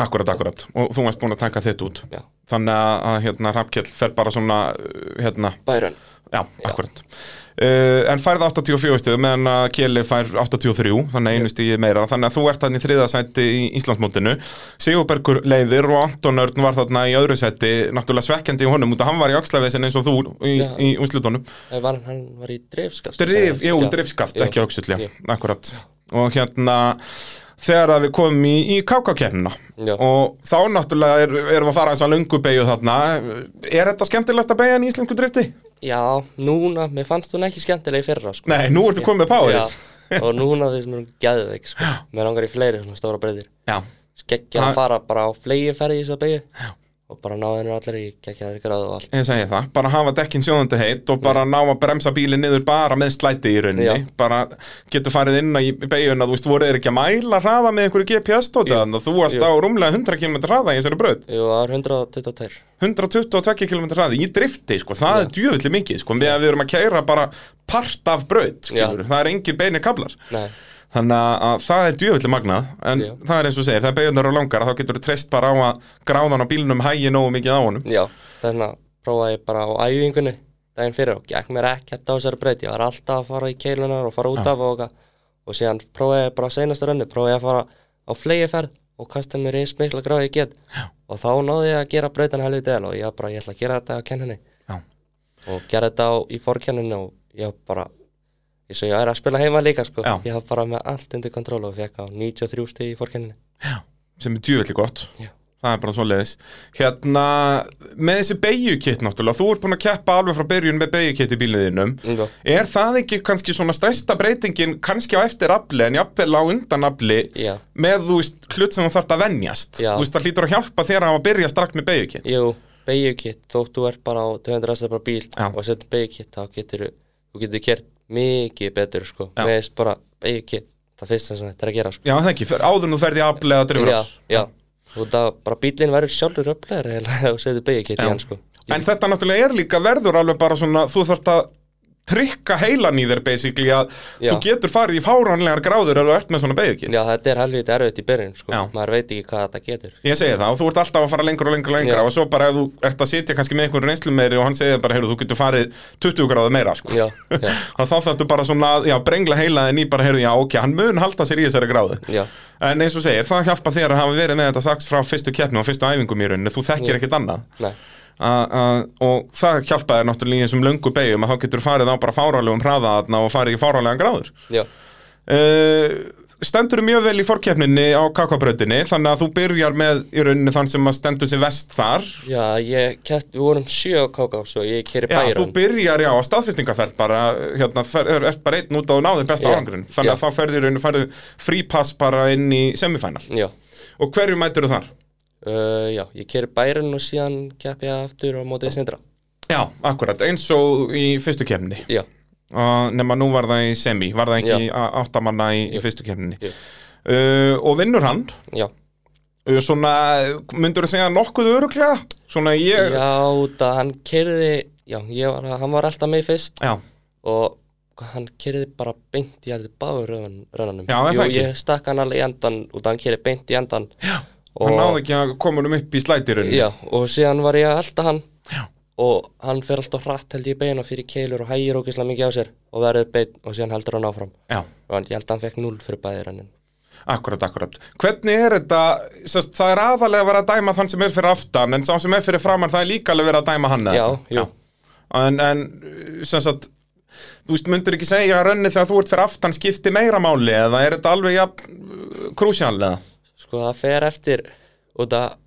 Speaker 1: akkurat, akkurat, og þú varst búin að taka þitt út
Speaker 2: Já,
Speaker 1: þannig að- að hérna Rappkjell fer bara svona uh, hérna,
Speaker 2: bærun
Speaker 1: Já, akkurat uh, En færð 84 stöðu meðan að Kjeli fær 83 Þannig að einu stíði meira Þannig að þú ert þarna í þriða sæti í Íslandsmótinu Sigurbergur leiðir og Anton Örn var þarna í öðru sæti Náttúrulega svekkjandi í honum út að hann var í axlavesin eins og þú í,
Speaker 2: Já.
Speaker 1: í úslutunum
Speaker 2: Nei, var, hann var í drifskaft
Speaker 1: Drif, jú, drifskaft, ekki auksullja Akkurat Og hérna þegar að við komum í, í kákakeppnina
Speaker 2: Já.
Speaker 1: og þá náttúrulega er, erum við að fara eins að löngu beigju þarna er þetta skemmtilegasta beigjan í íslensku drifti?
Speaker 2: Já, núna, mér fannst hún ekki skemmtileg í fyrra sko.
Speaker 1: Nei, nú ertu komið með
Speaker 2: Já,
Speaker 1: powerið
Speaker 2: og núna þess mér hún geðveik sko. Mér langar í fleiri svona stóra breyðir
Speaker 1: Já,
Speaker 2: Skekkja
Speaker 1: Það-
Speaker 2: að fara bara á fleigi ferði í þess að beigja Og bara náði hennar allir í gekkjaðar gráðu og allt
Speaker 1: ég segi það, bara hafa dekkin sjóðandi heitt og bara ná að bremsa bílinn niður bara með slæti í rauninni,
Speaker 2: Já.
Speaker 1: bara getur farið inn í beiguna, þú veist, voru þeir ekki að mæla hraða með einhverju GPS-tóti þannig að þú varst
Speaker 2: Jú.
Speaker 1: á rúmlega 100 km hraða í þessari braut,
Speaker 2: Jú, það var 122
Speaker 1: 122 km hraði í drifti, sko, það er djöfulli mikið sko, meðan við erum að kæra bara part af braut, skilur, það er engir beinir kablar
Speaker 2: Nei,
Speaker 1: þannig að- að það er djöfulli magnað en
Speaker 2: Já.
Speaker 1: það er eins og segir, það er beigunar og langar að þá getur þú treyst bara á að gráðan á bílnum hægi nógu mikið á honum
Speaker 2: já, þannig að prófaði ég bara á æfingunni daginn fyrir og gekk mér ekkert á þessari breyt ég var alltaf að fara í keilunar og fara út af og, eitthvað. og síðan prófaði ég bara á seinasta rönni prófaði ég að fara á flegiferð og kasta mér eins mikla gráð ég get já. og þá náði ég að gera brautan helvið del og ég var bara, ég ætla að gera þetta á kenninni
Speaker 1: Já.
Speaker 2: og gera þetta á, í fórkenninni og ég var bara ég svo ég er að spila heima líka sko
Speaker 1: Já.
Speaker 2: ég var bara með allt undir kontról og fekk á 93 stig í fórkenninni
Speaker 1: sem er djúvillig gott
Speaker 2: Já.
Speaker 1: það er bara svo leiðis hérna, með þessi beigjukitt náttúrulega, þú ert búin að keppa alveg frá byrjun með beigjukitt í bíliðinum
Speaker 2: Já.
Speaker 1: er það ekki kannski svona stærsta breytingin kannski á eftir afli en jafnvel á undan afli
Speaker 2: Já.
Speaker 1: með þú veist hlut sem þú þarft að venjast
Speaker 2: Já.
Speaker 1: þú veist það hlýtur að hjálpa þér að hafa byrja strax með beigjukitt
Speaker 2: Jú, beigjukitt, þótt þú ert bara á 200 rastar bara bíl
Speaker 1: Já.
Speaker 2: og setur beigjukitt þá getur þú getur kert mikið betur sko,
Speaker 1: Já.
Speaker 2: með þess bara beigjukitt það fyrsta sem þetta er að gera sko.
Speaker 1: já það ekki, fer- áður en þú ferði afli eða drifur
Speaker 2: já, já, þú veit að bara bílinn verður sjálfur öflegur eða þú setur
Speaker 1: Já.
Speaker 2: beigjukitt í hann sko.
Speaker 1: En þetta náttúrulega er líka verður alveg bara svona, þú þarft að trykka heilan í þér basically að
Speaker 2: Já.
Speaker 1: þú getur farið í fáránlegar gráður ef þú ert með svona beigjukitt
Speaker 2: Já, þetta er helviti erfitt í byrjun sko,
Speaker 1: Já.
Speaker 2: maður veit ekki hvað þetta getur
Speaker 1: Ég segi það og þú ert alltaf að fara lengur og lengur og lengra
Speaker 2: Já.
Speaker 1: og svo bara ef þú ert að sitja kannski með einhverjum reynslu meiri og hann segir bara, heyrðu, þú getur farið 20 gráðu meira, sko.
Speaker 2: Já, já,
Speaker 1: Og þá þarftu bara svona, að, já, brengla heilaðin í bara, heyrðu, já, ok, hann mun halda sér í þessari gráðu.
Speaker 2: já,
Speaker 1: En eins og segir, það hjálpa þér að hafa verið með þetta strax frá fyrstu keppnum og fyrstu æfingum í rauninni, þú þekkir ekkert annað.
Speaker 2: nei,
Speaker 1: A, a, og það hjálpa þér náttúrulega í þessum löngu beigjum að þá getur farið á bara fáralegum hraðaðna og farið í fáralega gráður.
Speaker 2: já,
Speaker 1: Uh, stendur mjög vel í fórkeppninni á kakabröðinni þannig að þú byrjar með í rauninni þann sem að stendur sér vest þar
Speaker 2: já, ég kert, við vorum sjö á KK og ég keri
Speaker 1: Já, þú
Speaker 2: bæjun
Speaker 1: byrjar já á staðfestingaferð bara, hérna, fer, er, ert bara einn út á og náðir besta
Speaker 2: Já,
Speaker 1: árangurinn þannig að
Speaker 2: já.
Speaker 1: þá ferðu í rauninni, ferðu frípass bara inn í semifænal
Speaker 2: Já,
Speaker 1: og hverju mætur þar?
Speaker 2: uh, já, ég keri bæjun og síðan kepp ég aftur á mótið sindra
Speaker 1: Já, akkurat, eins og í fyrstu kemni
Speaker 2: Já,
Speaker 1: uh, nema nú var það í semi, var það ekki
Speaker 2: Já.
Speaker 1: á- áttamanna í, í fyrstu kemni
Speaker 2: Jú.
Speaker 1: uh, og vinnur hann
Speaker 2: já,
Speaker 1: Uh, Uh, Svona, myndur þú segja nokkuð öruglega? Svona ég...
Speaker 2: Já, út að hann kerði, já, ég var, hann var alltaf með fyrst
Speaker 1: Já,
Speaker 2: og hann kerði bara beint í allir báður rönnanum.
Speaker 1: Já, er
Speaker 2: Jú,
Speaker 1: það ekki?
Speaker 2: ég stakk hann alveg í endan út að hann kerði beint í endan. Já,
Speaker 1: hann náði ekki að koma um upp í slætirunni.
Speaker 2: Já, og síðan var ég að elda hann Já. og hann fer alltaf hratt held ég í beina fyrir keilur og hægir ógislega mikið á sér og verður beinn og síðan heldur hann áfram
Speaker 1: Já.
Speaker 2: og hann, ég held að hann fekk 0 fyrir bæði rennin
Speaker 1: Akkurat, akkurat. Hvernig er þetta, sest, það er aðalega að vera að dæma þann sem er fyrir aftan, en sá sem er fyrir framann, það er líka alveg verið að dæma hann eða
Speaker 2: Já,
Speaker 1: ekki?
Speaker 2: jú.
Speaker 1: En, en, sem sagt, þú veist, myndur ekki segja að rönni þegar þú ert fyrir aftan skipti meira máli, eða er þetta alveg, ja, krúsjál, eða?
Speaker 2: Sko það fer eftir út að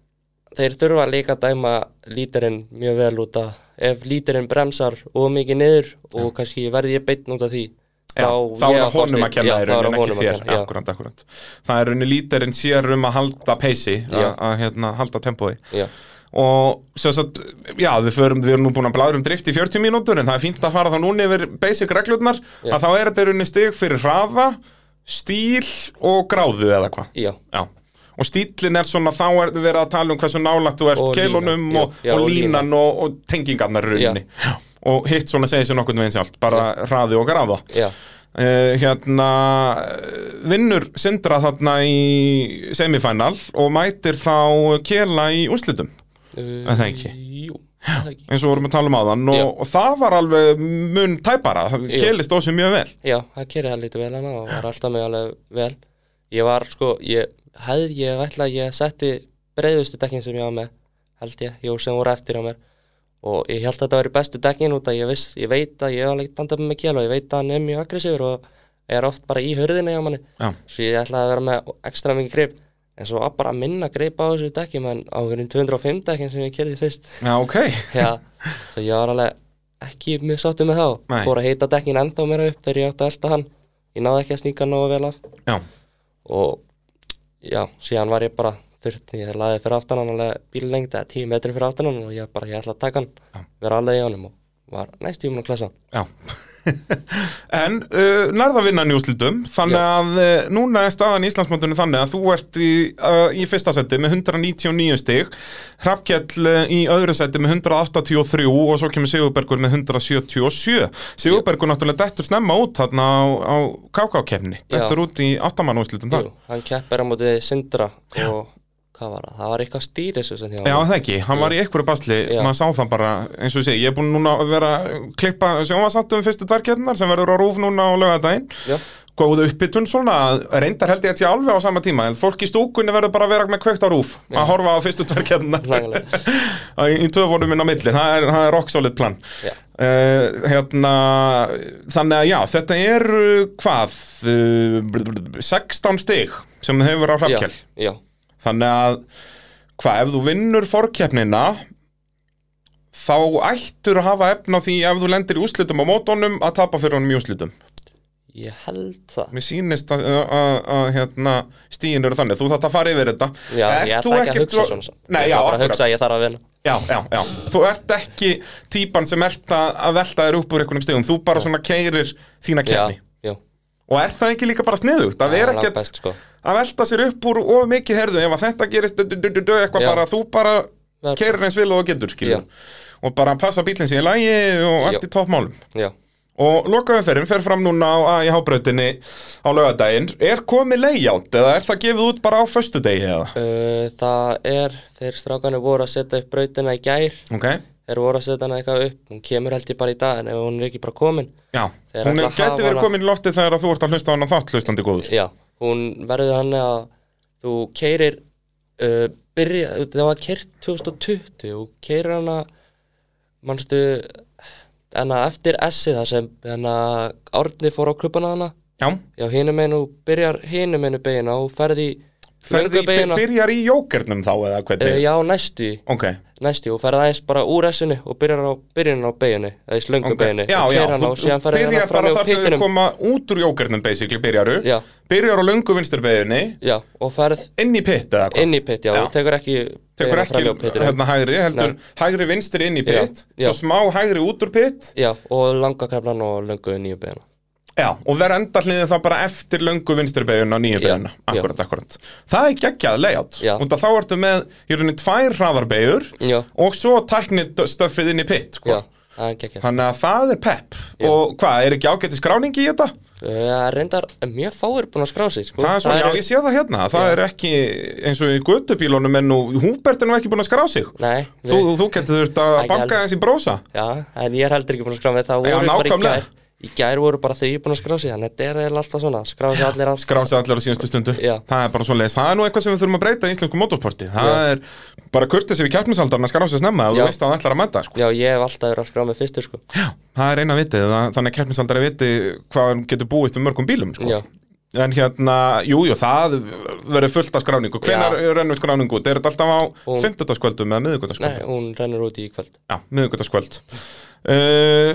Speaker 2: þeir þurfa líka að dæma lítirinn mjög vel út að ef lítirinn bremsar og mikið niður og kannski verði ég beinn út af því
Speaker 1: Já, þá er það
Speaker 2: ég að fá
Speaker 1: honum
Speaker 2: stig.
Speaker 1: að kenna
Speaker 2: Já,
Speaker 1: í
Speaker 2: þá er það
Speaker 1: rauninni, ekki
Speaker 2: honum að
Speaker 1: þér,
Speaker 2: kenna, já.
Speaker 1: akkurat, akkurat. Það er rauninni lítarinn sér um að halda peysi, að,
Speaker 2: Já.
Speaker 1: að hérna, halda tempói.
Speaker 2: Já,
Speaker 1: og sem sagt, já, við förum, við erum nú búin að bláður um drift í 40 mínútur en það er fínt að fara þá núna yfir basic reglurnar
Speaker 2: Já.
Speaker 1: að þá er þetta í rauninni stig fyrir hraða, stíl og gráðu eða hvað
Speaker 2: já,
Speaker 1: já. og stílin er svona, þá er verið að tala um hversu nálagt þú ert
Speaker 2: Og
Speaker 1: keilunum
Speaker 2: línan,
Speaker 1: og,
Speaker 2: já, já,
Speaker 1: og
Speaker 2: og
Speaker 1: línan og, og tengingarnar í rauninni já. og hitt svona segir sér nokkurn veginn sjálft bara hraði og gráða
Speaker 2: já,
Speaker 1: Uh, hérna eh, vinnur Sindra þarna í semifinal og mætir þá Kela í úrslitum
Speaker 2: Uh,
Speaker 1: Er það ekki?
Speaker 2: Jú, er það ekki?
Speaker 1: eins og við vorum að tala um áðan og,
Speaker 2: Já.
Speaker 1: og það var alveg mun tæpara,
Speaker 2: Já.
Speaker 1: Keli stóð sér mjög vel
Speaker 2: Já, það kerði það lítið vel hana og var alltaf með alveg vel. Ég var sko, ég hefði, ég ætla að ég setti breiðustu dekkin sem ég var með, held ég, jú, sem voru eftir á mér. Og ég held að þetta væri bestu dekkin út að ég, viss, ég veit að ég var leitt andað með kél og ég veit að hann er mjög aggressífur og er oft bara í hörðinni á manni.
Speaker 1: Já.
Speaker 2: Svo ég ætlaði að vera með ekstra mikið grip, en svo var bara minna grip á þessu dekkin, en á hverjum 205 dekkin sem ég kerði fyrst.
Speaker 1: Já, ok,
Speaker 2: Já, svo ég var alveg ekki mjög sáttu með þá
Speaker 1: Nei.
Speaker 2: Fór að heita dekkin ennþá meira upp þegar ég átti að elta hann Ég náði ekki að sníka nógu vel af
Speaker 1: já,
Speaker 2: Og já, síðan var ég bara þurft Ég laði fyrir aftan hann alveg bíllengd eða tíu metri fyrir aftan hann Og ég bara, ég ætla að taka hann Vera alveg í honum og var næst tímun að klasa hann
Speaker 1: já En uh, nærða vinnan í úrslitum þannig
Speaker 2: Já.
Speaker 1: að uh, núna er staðan í Íslandsmóndunni þannig að þú ert í, uh, í fyrsta seti með 199 stig Hrafkjell uh, í öðru seti með 183 og svo kemur Sigurbergur með 177 Sigurbergur náttúrulega dettur snemma út þarna á, á KK-kefni
Speaker 2: Já.
Speaker 1: dettur út í áttamann úrslitum þar
Speaker 2: Jú, Hann keppir á mótið Sindra og hvað var það? Það var eitthvað stýris sem ég
Speaker 1: Já,
Speaker 2: var með.
Speaker 1: það ekki, hann var í einhverju basli,
Speaker 2: Já.
Speaker 1: maður sá það bara, eins og ég segi, ég er búinn núna að vera að klippa sjónvarsáttum fyrstu tværkjörnar sem verður á rúf núna á lögadaginn,
Speaker 2: Já,
Speaker 1: góð uppbytun svona, reyndar held ég að ég alveg á sama tíma, en fólk í stúkunni verður bara að vera með kveikt á rúf, að horfa á fyrstu tværkjörnar
Speaker 2: nægilega
Speaker 1: í töfunum minn á milli, það er, það er rock solid plan.
Speaker 2: Já.
Speaker 1: Uh, hérna, þannig að já, þetta eru hvað, uh, bl- bl- bl- 16 stig sem þau hefur á
Speaker 2: Já,
Speaker 1: hrafkjall.
Speaker 2: já,
Speaker 1: Þannig að hvað, ef þú vinnur forkeppnina þá ættur að hafa efna því ef þú lendir í úslitum á mótónum að tapa fyrir honum í úslitum.
Speaker 2: ég held það
Speaker 1: Mér sýnist að, að, að, að hérna, stíin eru þannig, þú þátt að fara yfir þetta.
Speaker 2: Já, ég
Speaker 1: Ert
Speaker 2: ætla
Speaker 1: þú
Speaker 2: ekki að hugsa
Speaker 1: svo-
Speaker 2: svona samt.
Speaker 1: Nei,
Speaker 2: Ég
Speaker 1: já,
Speaker 2: ætla bara að
Speaker 1: akkurat.
Speaker 2: hugsa að ég þarf að vinna
Speaker 1: Já, já, já. Þú ert ekki típan sem ert að að velta þér upp úr einhvernum stigum, þú bara svona keirir þína keppni.
Speaker 2: Já, já
Speaker 1: Og er það ekki líka bara sniðugt? Það
Speaker 2: Já,
Speaker 1: er ekkert,
Speaker 2: langbest, sko.
Speaker 1: að velta sér upp úr of mikið herðu ef að þetta gerist du, du, du, du, du, eitthvað
Speaker 2: Já.
Speaker 1: bara þú bara
Speaker 2: Verður.
Speaker 1: keirir eins vil og þú getur skilur og bara passa bílinn sér í lagi og allt
Speaker 2: Já.
Speaker 1: í toppmálum
Speaker 2: Já,
Speaker 1: og lokaumferðin fer fram núna á AIH brautinni á laugardaginn er komið layout eða er það gefið út bara á föstudegi eða
Speaker 2: uh, það er, þeir strákanir voru að setja upp brautina í gær,
Speaker 1: ok,
Speaker 2: þeir voru að setja hana eitthvað upp, hún kemur held ég bara í dag en ef hún er ekki bara komin,
Speaker 1: já
Speaker 2: Þeir
Speaker 1: hún er
Speaker 2: ætla að hafa
Speaker 1: gæti verið
Speaker 2: hana-
Speaker 1: komin í loftið þegar að þú ert að hlusta á hana þátt hlustandi góður
Speaker 2: já, hún verður hann að þú keirir, uh, byrja, það var keirt 2020 og keirir hana, mannstu, hana eftir S-ið það sem hana Árni fór á klubbana hana,
Speaker 1: já,
Speaker 2: já, hinum einu, byrjar hinum einu beina og ferði í
Speaker 1: ferði,
Speaker 2: löngu beina,
Speaker 1: byrjar í jókernum þá eða
Speaker 2: uh,
Speaker 1: hvernig
Speaker 2: já, næstu í.
Speaker 1: ok,
Speaker 2: næstu og ferð aðeins bara úr essinu og byrjar á byrjun á beginni eða í slöngu
Speaker 1: Ok,
Speaker 2: okay. beginni
Speaker 1: já,
Speaker 2: og
Speaker 1: já,
Speaker 2: keyrir hana og síðan ferð hérna hana
Speaker 1: byrjar
Speaker 2: fram
Speaker 1: bara
Speaker 2: hjá
Speaker 1: þar sem þau
Speaker 2: pittinum
Speaker 1: koma út úr jókernum basically byrjaru,
Speaker 2: Já.
Speaker 1: byrjar á löngu vinsturbeginni,
Speaker 2: já, og ferð
Speaker 1: inn í pitt eða hvað,
Speaker 2: inn í pitt, já,
Speaker 1: Já.
Speaker 2: og tekur ekki
Speaker 1: tekur
Speaker 2: beina fram hjá
Speaker 1: ekki
Speaker 2: pittinu.
Speaker 1: hérna hægri, heldur hægri vinstri inn í
Speaker 2: Já,
Speaker 1: pitt,
Speaker 2: já.
Speaker 1: svo smá hægri út úr pitt
Speaker 2: já, og langa kaflan og löngu nýju beginna
Speaker 1: Já, og vera endarliðið þá bara eftir löngu vinstri beiguna, nýju
Speaker 2: Já,
Speaker 1: beiguna, akkurat, akkurat Það er geggjað layout,
Speaker 2: Já.
Speaker 1: og þá ertu með í rauninni tvær hraðarbeigur
Speaker 2: Já.
Speaker 1: og svo tæknið stöffið inn í pitt
Speaker 2: já,
Speaker 1: sko.
Speaker 2: það er gekkja
Speaker 1: Þannig að það er pepp og hvað, er ekki ágæti skráning í þetta?
Speaker 2: Það er reyndar mjög fáir búin að skrá sig sko.
Speaker 1: Það er svona, já,
Speaker 2: eru-
Speaker 1: ég sé það hérna, það er ekki eins og í göttubílunum en nú, Húbert er nú ekki búin að skrá sig
Speaker 2: Nei,
Speaker 1: Þú, þú getur þurft að
Speaker 2: Ekki
Speaker 1: banka
Speaker 2: alveg.
Speaker 1: eins í brósa
Speaker 2: Já, en ég er heldur ekki búin að skrá mig Það
Speaker 1: Já,
Speaker 2: voru bara í
Speaker 1: nákvæmlega.
Speaker 2: gær Í gær voru bara þau búin að skrá sig Þannig að þetta er eiginlega alltaf svona Skrá sig allir alls
Speaker 1: skrása allar á síðustu stundu
Speaker 2: Já.
Speaker 1: það er bara svo leiðis, það er nú eitthvað sem við þurfum að breyta í íslensku motorsporti, það er bara kurtið sem við kjartmisaldarna skrása snemma og þú
Speaker 2: Já.
Speaker 1: veist að hann ætlar að mæta sko.
Speaker 2: Já, ég hef alltaf verið að skrá mig fyrstur sko.
Speaker 1: það er eina vitið, það, þannig að kjartmisaldari viti hvað hann getur búist við mörgum bílum sko.
Speaker 2: Já,
Speaker 1: en hérna, jújú, jú, það verður fullt af skráningu, hvenar rennur skráningu út? er þetta alltaf á
Speaker 2: Og-
Speaker 1: fimmtudagskvöldum eða
Speaker 2: nei,
Speaker 1: miðugudagskvöldum?
Speaker 2: hún rennur út í kvöld
Speaker 1: Já, miðugutaskvöld uh,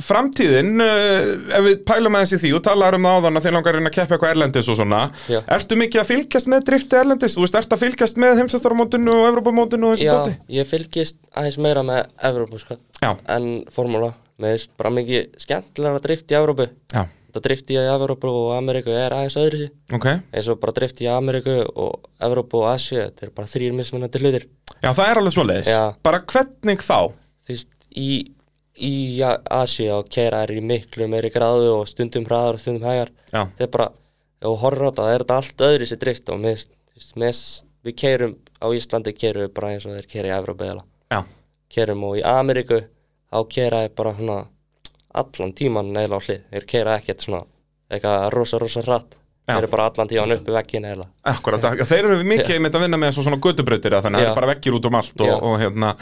Speaker 1: Framtíðin uh, ef við pælum aðeins í því og talaðum um það áðan að þeir langar að reyna að keppa eitthvað erlendis og svona
Speaker 2: Já.
Speaker 1: Ertu mikið að fylgjast með drifti erlendis? Þú veist, ertu að fylgjast með heimsastarmótinu og Evrópamótinu og þessu
Speaker 2: Já,
Speaker 1: dóti?
Speaker 2: ég fylgist aðeins meira með Evrópu sko,
Speaker 1: Já,
Speaker 2: en formúla Mér finnst bara mikið skemmtilega að drift í Evrópu
Speaker 1: já,
Speaker 2: Þetta drift í Evrópu og Ameríku er aðeins öðru sér
Speaker 1: ok
Speaker 2: eins og bara drift í Ameríku og Evrópu og Asju Þetta er bara þrýr mismunandi hlutir
Speaker 1: Já, það er alveg svoleiðis
Speaker 2: Já.
Speaker 1: Bara hvernig þá?
Speaker 2: Þú veist, í, í Asju og keira er í miklu meiri gráðu og stundum hraðar og stundum hægar
Speaker 1: Já,
Speaker 2: þetta er bara, ef þú horfir á þetta það er þetta allt öðru sér drift og með, með, við keirum á Íslandi keirum við bara eins og þeir keira í Evrópu eða
Speaker 1: já,
Speaker 2: keirum og í Ameríku þá keira þeir bara svona allan tíman neila á hlið, þeir keira ekkert svona eitthvað rosa rosa hratt
Speaker 1: Já.
Speaker 2: þeir eru bara allan tíman upp í veggin eða
Speaker 1: akkurat já, Þeir eru mikið einmitt að vinna með svo svona götubrautir eða þannig að
Speaker 2: Já.
Speaker 1: það er bara vekkir út um allt og,
Speaker 2: Já.
Speaker 1: og hérna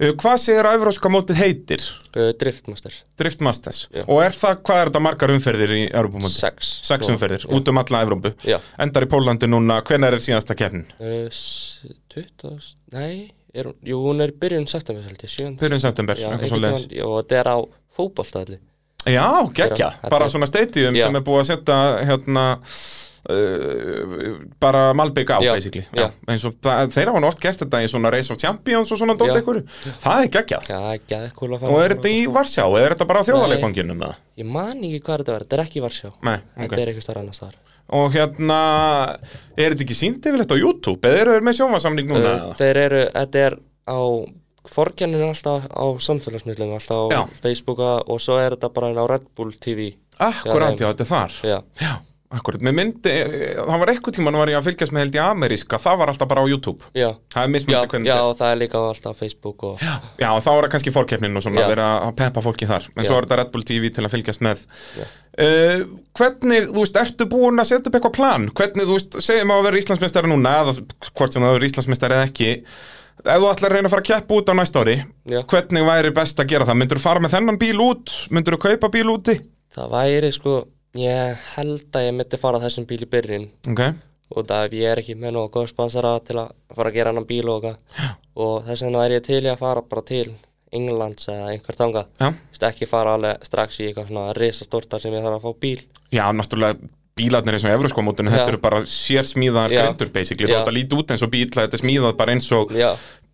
Speaker 1: Uh, Hvað segir að Evróska mótið heitir?
Speaker 2: uh, driftmaster,
Speaker 1: Drift Masters
Speaker 2: Já.
Speaker 1: Og er það, hvað er þetta margar umferðir í Evrópamóti?
Speaker 2: sex
Speaker 1: Sex
Speaker 2: Og-
Speaker 1: umferðir, út um alla Evrópu
Speaker 2: já,
Speaker 1: Endar í Pólandi núna, hvenær er síðasta keppnin?
Speaker 2: uh, s- 20, nei er, hún- jú, hún er í byrjun september held ég, 7.
Speaker 1: Byrjun september,
Speaker 2: Já,
Speaker 1: eitthvað svo
Speaker 2: einhvern
Speaker 1: leiðis
Speaker 2: tímann- og þetta er á fótbolta allir
Speaker 1: Já, geggja,
Speaker 2: Þetta er-
Speaker 1: bara svona stadium
Speaker 2: Já.
Speaker 1: sem er búið að setja hérna uh, bara Malbygg á,
Speaker 2: Já,
Speaker 1: basically
Speaker 2: já.
Speaker 1: eins og það, þeir hafa nú oft gert þetta í svona Race of Champions og svona dót
Speaker 2: Já.
Speaker 1: einhverju það er geggja,
Speaker 2: Já, ekki að eitthvað að fara
Speaker 1: og er þetta í Varsjá eða er þetta bara á þjóðarleikvanginum eða?
Speaker 2: Ég man ekki hvað þetta var, þetta er ekki í Varsjá
Speaker 1: Nei, ok,
Speaker 2: Þetta er eitthvað starf annars þar
Speaker 1: og hérna er þetta ekki sínt yfirleitt á YouTube eða eru þeir með sjómasamning núna?
Speaker 2: uh, Þeir eru, þetta er á Forkenninu alltaf á samfélagsmiðlum Alltaf á
Speaker 1: Já.
Speaker 2: Facebooka og svo er þetta bara á Red Bull TV
Speaker 1: Akkurat,
Speaker 2: já,
Speaker 1: já, þetta er þar
Speaker 2: Já,
Speaker 1: Já, akkurat, mér myndi það var eitthvað tíma nú var ég að fylgjast með held í ameríska það var alltaf bara á YouTube
Speaker 2: já,
Speaker 1: það er
Speaker 2: já,
Speaker 1: mismöndi hvernig
Speaker 2: já
Speaker 1: þetta
Speaker 2: og það er líka á alltaf á Facebook og
Speaker 1: er. já, og þá er það kannski fórkeppnin og svona
Speaker 2: Já.
Speaker 1: að vera að peppa fólki þar en svo
Speaker 2: Já.
Speaker 1: er þetta Red Bull TV til að fylgjast með
Speaker 2: Já.
Speaker 1: uh, hvernig, þú veist, ertu búin að setja upp eitthvað plan hvernig, þú veist, segjum að vera Íslandsmeistari núna eða hvort sem það verður Íslandsmeistari eða ekki ef þú ætlar að reyna að fara að keppa út á næsta ári
Speaker 2: Já.
Speaker 1: hvernig væri best að gera það, myndur þú fara með þennan bíl út myndur þú kaupa bíl úti
Speaker 2: Það væri sko, ég held að ég myndi fara þessum bíl í byrjun
Speaker 1: okay.
Speaker 2: og það ef ég er ekki með nógu góð sponsora til að fara að gera annan bíl og eitthvað og þess vegna er ég til í að fara bara til Englands eða einhver þangað
Speaker 1: já.
Speaker 2: Þú veist, ekki fara alveg strax í eitthvað svona risastortar sem ég þarf að fá bíl
Speaker 1: Já, náttúrulega bílarnir eins og Evróskomótinu,
Speaker 2: Já.
Speaker 1: þetta eru bara sérsmíðaðar
Speaker 2: Já.
Speaker 1: grindur basically,
Speaker 2: Já.
Speaker 1: þó þetta líti út eins og bíl að þetta er smíðað bara eins og
Speaker 2: Já,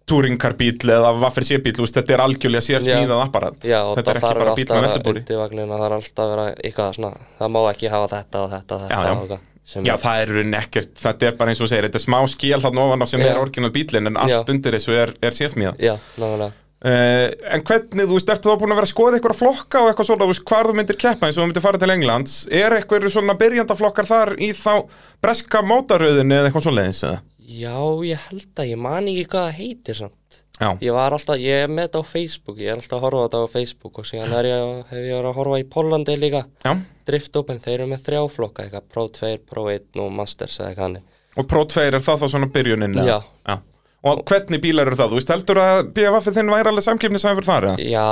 Speaker 1: túringarbíl eða vaffir sébíl, þú veist, þetta er algjörlega sérsmíðað apparat,
Speaker 2: já og
Speaker 1: þetta er ekki bara bíl með veltubúri
Speaker 2: undirvagninu, það þarf alltaf að vera eitthvað svona það má ekki hafa þetta og þetta og
Speaker 1: Já,
Speaker 2: þetta
Speaker 1: já.
Speaker 2: og eitthvað sem
Speaker 1: Já, það er í rauninni ekkert, þetta er bara eins og þú segir, þetta er smá skil hann ofan á sem
Speaker 2: Já.
Speaker 1: er orginal bílinn en allt
Speaker 2: Já.
Speaker 1: undir þessu er, er sérsmíðað
Speaker 2: Já, nákvæmlega
Speaker 1: uh, En hvernig, þú veist, ertu þá búin að vera að skoða einhverja flokka og eitthvað svona, þú veist, hvar þú myndir keppa eins og þú myndir fara til Englands, er eitthvað svona byrjandaflokkar þar í þá breska mótaröðinni eða eitthvað svoleiðis eða?
Speaker 2: Já, ég held að ég man ekki hvað það heitir samt
Speaker 1: Já.
Speaker 2: Ég var alltaf, ég er með þetta á Facebook, ég er alltaf að horfa á þetta á Facebook og síðan er ég, hef ég verið að horfa í Póllandi líka
Speaker 1: Já.
Speaker 2: Drift Open, þeir eru með þrjá flokka, eitthvað, Pro 2, Pro 1 og Masters eða eitthvað hannig
Speaker 1: Og Pro 2 er það þá svona byrjunin eða?
Speaker 2: Já.
Speaker 1: Já Og hvernig bílar eru það? Þú veist, heldur að BFF þinn væri alveg samkeppnisæfur þar, eða?
Speaker 2: Já,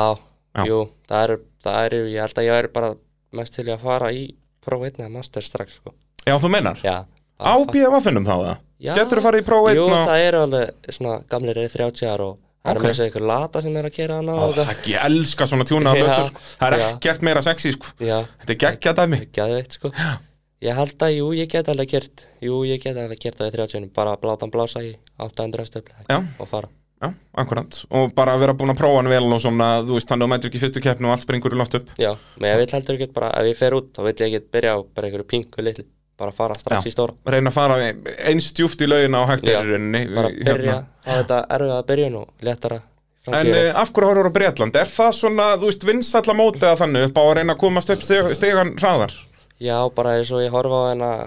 Speaker 1: Já.
Speaker 2: jú, það eru, það eru, ég held að ég væri bara mest til í að fara í Pro 1 eða Master strax, sko.
Speaker 1: Já, þú meinar?
Speaker 2: Já.
Speaker 1: Á BFF-innum þá, eða?
Speaker 2: Já.
Speaker 1: Getur þú farið í Pro 1
Speaker 2: Jú,
Speaker 1: og...
Speaker 2: það eru alveg svona gamlir eða 30 ára og það
Speaker 1: Ok.
Speaker 2: eru með þess að ykkur lata sem er að kera hana
Speaker 1: Ó,
Speaker 2: og það.
Speaker 1: ekki, ég elska svona tjúna af
Speaker 2: Já.
Speaker 1: lötur, sko. Það er
Speaker 2: Já.
Speaker 1: ekkert meira sexy, sko.
Speaker 2: Já,
Speaker 1: Þetta er geggja dæmi.
Speaker 2: geðveitt, sko. Ég held að, jú, ég get alveg kert, jú, ég get alveg kert á því 30 bara að láta hann blása í 800 stöfli
Speaker 1: Já.
Speaker 2: og fara.
Speaker 1: Já, akkurat. Og bara vera búin að prófa hann vel og svona, þú veist, þannig að þú mætir ekki í fyrstu keppnu og allt springur í loft upp.
Speaker 2: Já, menn ég vil heldur ekki bara, ef ég fer út, þá vil ég ekki byrja á bara einhverju pingu litli, bara fara
Speaker 1: Já.
Speaker 2: strax í stóra.
Speaker 1: Reyna að fara eins djúft í laugina og hægt er
Speaker 2: Já,
Speaker 1: í rauninni.
Speaker 2: Bara
Speaker 1: Hérna.
Speaker 2: byrja, hafa þetta erfið að byrja nú, léttara.
Speaker 1: En uh, af hverju horfur á Breitland? Er það svona, þú veist, vinsalla mótið að þannig upp á að reyna að komast upp steg, stegan hraðar?
Speaker 2: Já, bara eins og ég horfa á hennar,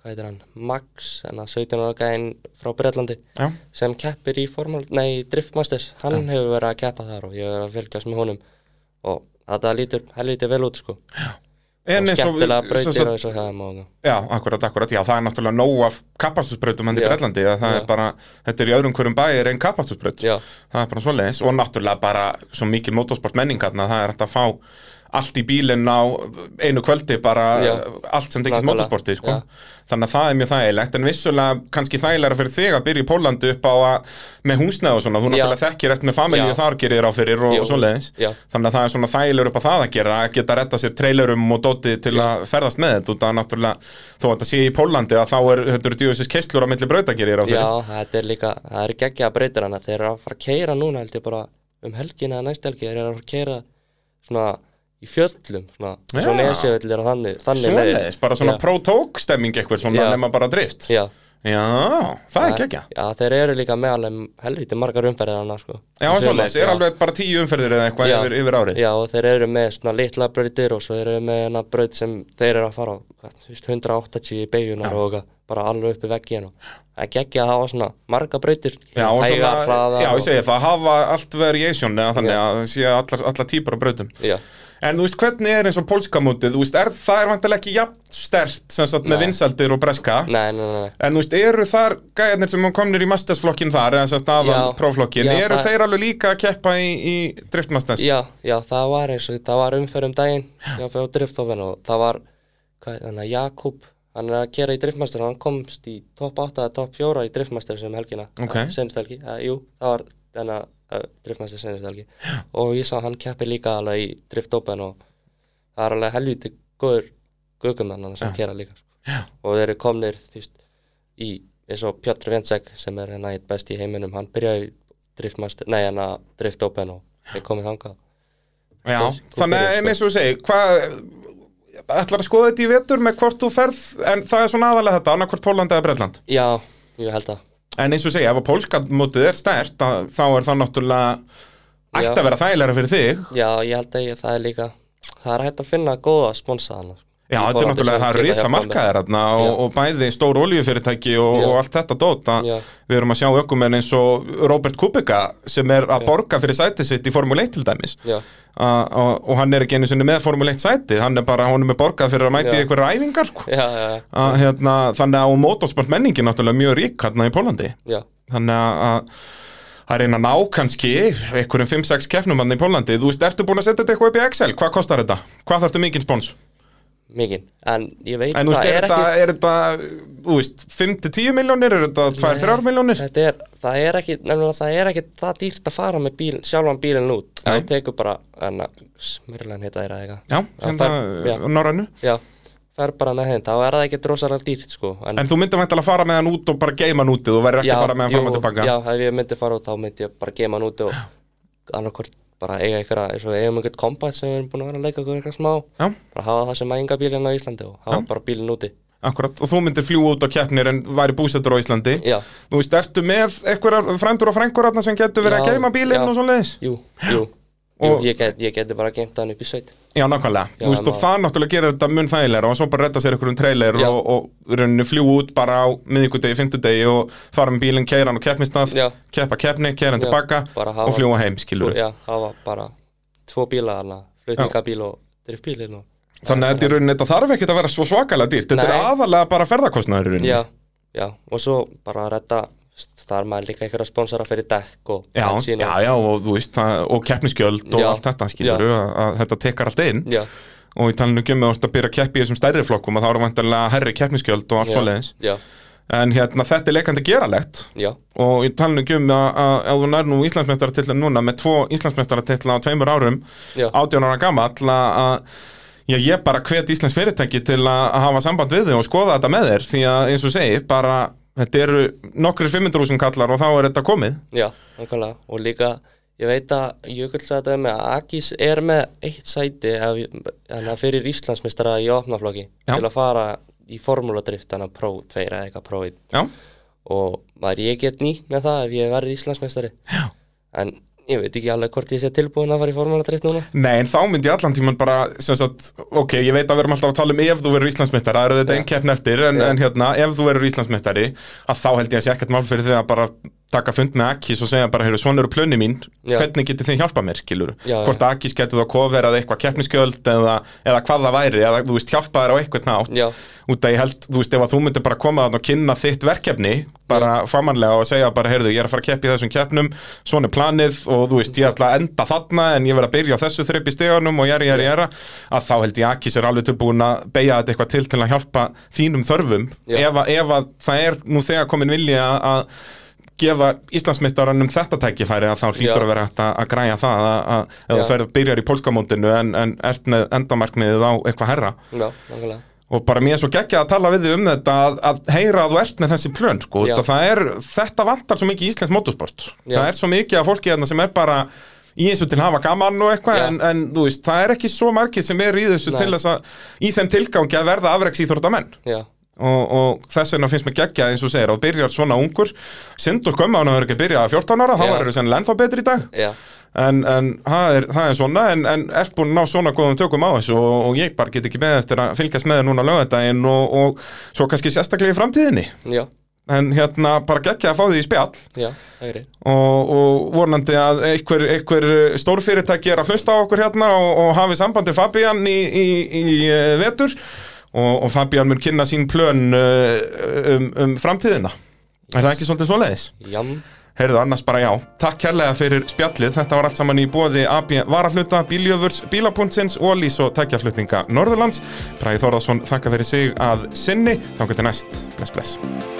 Speaker 2: hvað heitir hann, Max, hennar 17 ára gæðin frá Breitlandi,
Speaker 1: Já,
Speaker 2: sem keppir í formál, nei, í Drift Masters, hann hefur verið að keppa þar og ég hefur verið að fylgjast með honum og þetta lítur, hann lítur vel út, sko.
Speaker 1: En
Speaker 2: og
Speaker 1: eins og-
Speaker 2: skemmtilega
Speaker 1: svo-
Speaker 2: brautir
Speaker 1: svo-
Speaker 2: og eins og það sko. móga.
Speaker 1: Já, akkurat, akkurat, já, það er náttúrulega nóg af kapastusbrautum hann í
Speaker 2: Já.
Speaker 1: Bretlandi, það er
Speaker 2: Já.
Speaker 1: bara, þetta er í öðrum hverjum bæir en kapastusbraut,
Speaker 2: Já,
Speaker 1: það er bara svoleiðis og náttúrulega bara svo mikil motorsport menningarna, það er hægt að fá allt í bílinn á einu kvöldi bara
Speaker 2: Já.
Speaker 1: allt sem tekist
Speaker 2: Nákvæmlega,
Speaker 1: motorsporti, sko
Speaker 2: já.
Speaker 1: þannig að það er mjög þægilegt, en vissulega kannski þægilega fyrir þig að byrja í Pólandi upp á að með húsnæð og svona, þú
Speaker 2: Já.
Speaker 1: náttúrulega þekkir eftir með familju
Speaker 2: Já.
Speaker 1: þar gerir á fyrir og,
Speaker 2: Jú.
Speaker 1: og svoleiðis
Speaker 2: já,
Speaker 1: Þannig að það er svona þægilegur upp á það að gera að geta að retta sér trailerum og dóti til að ferðast með þetta út að náttúrulega þó að þetta sé í Pólandi að þá er þetta eru djúðisins keistlur á milli brautagerir á
Speaker 2: já,
Speaker 1: fyrir
Speaker 2: þetta er líka, það er geggja að breytir hana, þeir eru að fara að keira núna, held ég bara, um helgina eða næst helgi, þeir eru að fara að keira svona í fjöllum, svona,
Speaker 1: Já.
Speaker 2: svona esjöfellir og þannig, þannig leiðir.
Speaker 1: Svoleiðis, bara svona
Speaker 2: Já.
Speaker 1: pro-tók stemming eitthvað svona
Speaker 2: Já.
Speaker 1: nema bara drift
Speaker 2: Já,
Speaker 1: Já, það er ekki ekki
Speaker 2: já, þeir eru líka með alveg helviti margar umferðir hana, sko.
Speaker 1: Já,
Speaker 2: Í sumar,
Speaker 1: svoleiðis, er
Speaker 2: já.
Speaker 1: alveg bara tíu umferðir eða eitthvað
Speaker 2: Já.
Speaker 1: yfir, yfir árið
Speaker 2: Já, og þeir eru með svona litla brautir og svo eru þeir með hana braut sem þeir eru að fara á, hvað, þú veist, 180 í beigunar og eitthvað, bara alveg upp í veggin og það geggja að hafa svona marga brautir,
Speaker 1: Já, og svona,
Speaker 2: hægar, hraðar
Speaker 1: já,
Speaker 2: og-
Speaker 1: ég segi það, hafa allt variation eða þannig
Speaker 2: Já.
Speaker 1: að það sé allar, allar típar á brautum
Speaker 2: Já,
Speaker 1: En þú veist, hvernig er eins og pólska mótið, þú veist, er, það er vantilega ekki jafn stert sem sagt með
Speaker 2: Nei.
Speaker 1: vinsaldir og breska
Speaker 2: nei, nei, nei, nei.
Speaker 1: En þú veist, eru þar gæjarnir sem komnir í mastersflokkin þar, eða sem staðan
Speaker 2: Já.
Speaker 1: próflokkin,
Speaker 2: Já,
Speaker 1: eru
Speaker 2: það-
Speaker 1: þeir alveg líka að keppa í, í driftmasters?
Speaker 2: Já, já, það var eins og það var umferð um daginn Já, fyrir á driftofinu og það var hvað, hann, Jakob, hann er að kera í driftmaster og hann komst í topp 8 eða topp 4 í driftmaster sem helgina
Speaker 1: Ok.
Speaker 2: Eh, seinustu helgi, uh, jú, það var þannig að uh, driftmaster senast helgi og ég sá hann keppi líka alveg í driftopen og það er alveg helviti góður gugumann hann sem kera líka já. og þeir eru komnir þú veist, í eins og Pjotr Vensek sem er hérna eitt best í heiminum hann byrjaði í driftmaster, nei hann að driftopen og er komin hangað
Speaker 1: Já,
Speaker 2: Þú- þú
Speaker 1: þannig
Speaker 2: byrjar,
Speaker 1: að
Speaker 2: sko.
Speaker 1: eins og ég segi, hvað, ætlar að skoða þetta í vetur með hvort þú ferð, en það er svona aðalega þetta, annarkvort Póland eða Bretland.
Speaker 2: Já, ég held að
Speaker 1: En eins og ég segi, ef að pólska mótið er stert, þá þá er það náttúrulega ætti
Speaker 2: Já.
Speaker 1: að vera þægilega fyrir þig.
Speaker 2: Já, ég held að ég, það er líka Það er hægt að finna góða sko. sponsa hann
Speaker 1: Já, þetta er náttúrulega, það eru risa markaðir þarna og,
Speaker 2: Já.
Speaker 1: og bæði stór oljufyrirtæki og,
Speaker 2: Já.
Speaker 1: og allt þetta dót að
Speaker 2: Já.
Speaker 1: við erum að sjá ökumenn eins og Robert Kubica sem er að borga fyrir sætið sitt í Formule 1 til dæmis
Speaker 2: Já,
Speaker 1: A, og, og hann er ekki einu sinni með Formule 1 sætið, hann er bara, honum er borgað fyrir að mæti
Speaker 2: Já.
Speaker 1: einhverja æfingar sko
Speaker 2: já, já, já,
Speaker 1: A, hérna, þannig að og motorsport menningi náttúrulega mjög rík hérna í Pólandi
Speaker 2: já,
Speaker 1: þannig að- að að reyna að ná kannski einhverjum 5-6 keppnum hann í Pólandi, þú veist, ertu búin að setja þetta eitthvað upp í Excel, hvað kostar þetta? Hvað þarftu mikinn spons?
Speaker 2: mikið En ég veit
Speaker 1: En þú veist,
Speaker 2: það
Speaker 1: er,
Speaker 2: er
Speaker 1: þetta,
Speaker 2: ekki
Speaker 1: er þetta, þú veist, 5-10 miljónir, er þetta 2-3 miljónir?
Speaker 2: Þetta er, það er ekki, nefnilega það er ekki það dýrt að fara með bíl, sjálfan bílinn út
Speaker 1: Nei.
Speaker 2: Það tekur bara, en að smyrlan heita þeirra eitthvað
Speaker 1: Já, hérna,
Speaker 2: það- já.
Speaker 1: norrænu.
Speaker 2: Já, fer bara með þeim, þá er það ekki drosalega dýrt sko
Speaker 1: En þú myndir væntanlega að fara með hann út og bara geima hann útið og verður ekki að fara með hann fram og
Speaker 2: jú,
Speaker 1: tilbaka.
Speaker 2: Já, ef ég myndi fara út þá myndi ég bara geima hann úti og annarkvort bara eiga einhverja, eins og við eigum einhvern kombat sem við erum búin að vera að leika okkur eitthvað smá
Speaker 1: Já.
Speaker 2: bara hafa það sem æfinga bílinn á Íslandi og hafa bara bílinn úti
Speaker 1: Akkurat, og þú myndir fljúa út á keppnir en væri búsettur á Íslandi.
Speaker 2: Já,
Speaker 1: Þú veist, ertu með einhverjar frændur og frængur þarna sem getur verið að
Speaker 2: Já,
Speaker 1: geima bílinn
Speaker 2: já.
Speaker 1: og svoleiðis?
Speaker 2: jú, jú, jú
Speaker 1: Og-
Speaker 2: ég, get, ég geti bara geimt hann upp í sveit
Speaker 1: Já, nákvæmlega.
Speaker 2: Já,
Speaker 1: þú veist, og
Speaker 2: ná-
Speaker 1: það náttúrulega gerir þetta mun þægilega og svo bara redda sér einhverjum trailer
Speaker 2: Já.
Speaker 1: og, og rauninu fljúa út bara á miðvikudegi, fimmtudegi og fara með bílinn, keira hann og keppnistað,
Speaker 2: Já.
Speaker 1: keppa keppni, keira hann
Speaker 2: Já,
Speaker 1: tilbaka
Speaker 2: bara hafa-
Speaker 1: og fljúa heim, skilur
Speaker 2: Sko, Já, hafa bara tvo bíla þarna, flutningabíl og driftbílinn og
Speaker 1: Þannig að þetta í rauninni, þetta þarf ekkert að vera svo svakalega dýrt Þetta er
Speaker 2: Nei.
Speaker 1: aðalega bara ferðarkostnaður í rauninni
Speaker 2: Já, já, og svo bara að redda þar maður líka einhverja sponsora fyrir dekk og
Speaker 1: já,
Speaker 2: bensín
Speaker 1: já,
Speaker 2: og-
Speaker 1: já, og þú veist, það- og keppnisgjöld og
Speaker 2: Já.
Speaker 1: allt þetta skilur að, að þetta tekar allt inn
Speaker 2: já,
Speaker 1: og í talinu ekki um að þú ert að byrja að keppi í þessum stærri flokkum að það eru vantarlega herri keppnisgjöld og allt
Speaker 2: já,
Speaker 1: svoleiðis
Speaker 2: Já,
Speaker 1: En hérna, þetta er leikandi geralegt
Speaker 2: já,
Speaker 1: og í talinu ekki um að, að, að þú nær nú Íslandsmeistaratitlan núna með tvo Íslandsmeistaratitla á tveimur árum
Speaker 2: já
Speaker 1: 18 ára gamall að að- já, ég bara hvet Íslands fyrirtæki til að að hafa samband við þig og skoða þetta með þér því að eins og ég segi, bara Þetta eru nokkrir 500.000 kallar og þá er þetta komið
Speaker 2: já, nákvæmlega og líka, ég veit að Jökull sagði þetta með að Akis er með eitt sæti af, hana, fyrir Íslandsmistara í opnaflokki
Speaker 1: Já.
Speaker 2: til að fara í formúladrift hann að pró 2 eða eitthvað pró 1
Speaker 1: Já,
Speaker 2: og maður ég get nýtt með það ef ég verði Íslandsmeistari já. en ég veit ekki alveg hvort ég sé tilbúin að fara í formúladrift núna
Speaker 1: nei en þá myndi ég allan tíman bara sem sagt, ok, ég veit að við erum alltaf að tala um ef þú verður Íslandsmeistari, það eru þetta
Speaker 2: Já.
Speaker 1: einn keppn eftir en,
Speaker 2: Já.
Speaker 1: en hérna, ef þú verður Íslandsmeistari að þá held ég að sé ekkert mál fyrir því að bara taka fund með Akis og segja bara, heyrðu, svona eru plönni mín
Speaker 2: Já.
Speaker 1: hvernig getið þið hjálpað mér, skilur
Speaker 2: Já,
Speaker 1: hvort að Akis getur þá koferað eitthvað keppniskjöld eða, eða hvað það væri, eða þú veist, hjálpað þér á eitthvað nátt
Speaker 2: já,
Speaker 1: út að ég held, þú veist, ef að þú myndir bara koma þarna og kynna þitt verkefni, bara famanlega og segja bara, heyrðu, ég er að fara að keppa í þessum keppnum svona er planið og þú veist, ég ætla að enda þarna en ég verð að byrja á þessu þreip í steganum og jæri, jæri, jæra að þá held ég Akis er alveg tilbúin að beigja þetta eitthvað til til að hjálpa þínum þörfum
Speaker 2: Já.
Speaker 1: ef að, ef að það er nú þegar komin vilja að gefa Íslandsmeistaranum þetta tækifæri að þá hlýtur
Speaker 2: Já.
Speaker 1: að vera hægt að, að græja það að, að, að
Speaker 2: Já.
Speaker 1: þú ferð byrjar í pólskamótinu en, en ert með endamarkmiðið á eitthvað herra
Speaker 2: já, nákvæmlega
Speaker 1: og bara mér er svo geggja að tala við þig um þetta að, að heyra að þú ert með þessi plön sko.
Speaker 2: Já.
Speaker 1: þetta, það er, þetta vantar svo mikið í Íslands motorsport
Speaker 2: Já.
Speaker 1: það er svo mikið af fólki þarna sem er bara í þessu til að hafa gaman og eitthvað
Speaker 2: Já.
Speaker 1: en, en þú veist, það er ekki svo margir sem er í þessu
Speaker 2: Nei.
Speaker 1: til þess að í þeim tilgangi að verða afreks menn
Speaker 2: já,
Speaker 1: og, og þess vegna finnst mér geggja eins og þú segir og byrjar svona ungur, sindur gömma hann að vera ekki að byrja að 14 ára, þá
Speaker 2: Já.
Speaker 1: verður þess ennþá betri í dag
Speaker 2: já,
Speaker 1: en, en það, er, það er svona en, en ert búin að ná svona góðum tökum á þessu og, og ég bara get ekki með eftir að fylgjast með þér núna lögadaginn og, og svo kannski sérstaklega í framtíðinni
Speaker 2: já,
Speaker 1: en hérna bara geggja að fá því í spjall
Speaker 2: já, hægri
Speaker 1: og, og vonandi að einhver, einhver stórfyrirtæki er að hlusta á okkur hérna og, og hafi sambandi Fabian í, í, í eh, vetur og, og Fabian mun kynna sín plön eh, um, um framtíðina Er það ekki svolítið svoleiðis?
Speaker 2: jam,
Speaker 1: Heyrðu, annars bara já. Takk kærlega fyrir spjallið. Þetta var allt saman í bóði AB Varahluta, Bíljöfurs, Bílapuntsins, Ólís og tækjaflutninga Norðurlands. Bræði Þórðarsson þakka fyrir sig að sinni. Þá getur næst. Bless, bless.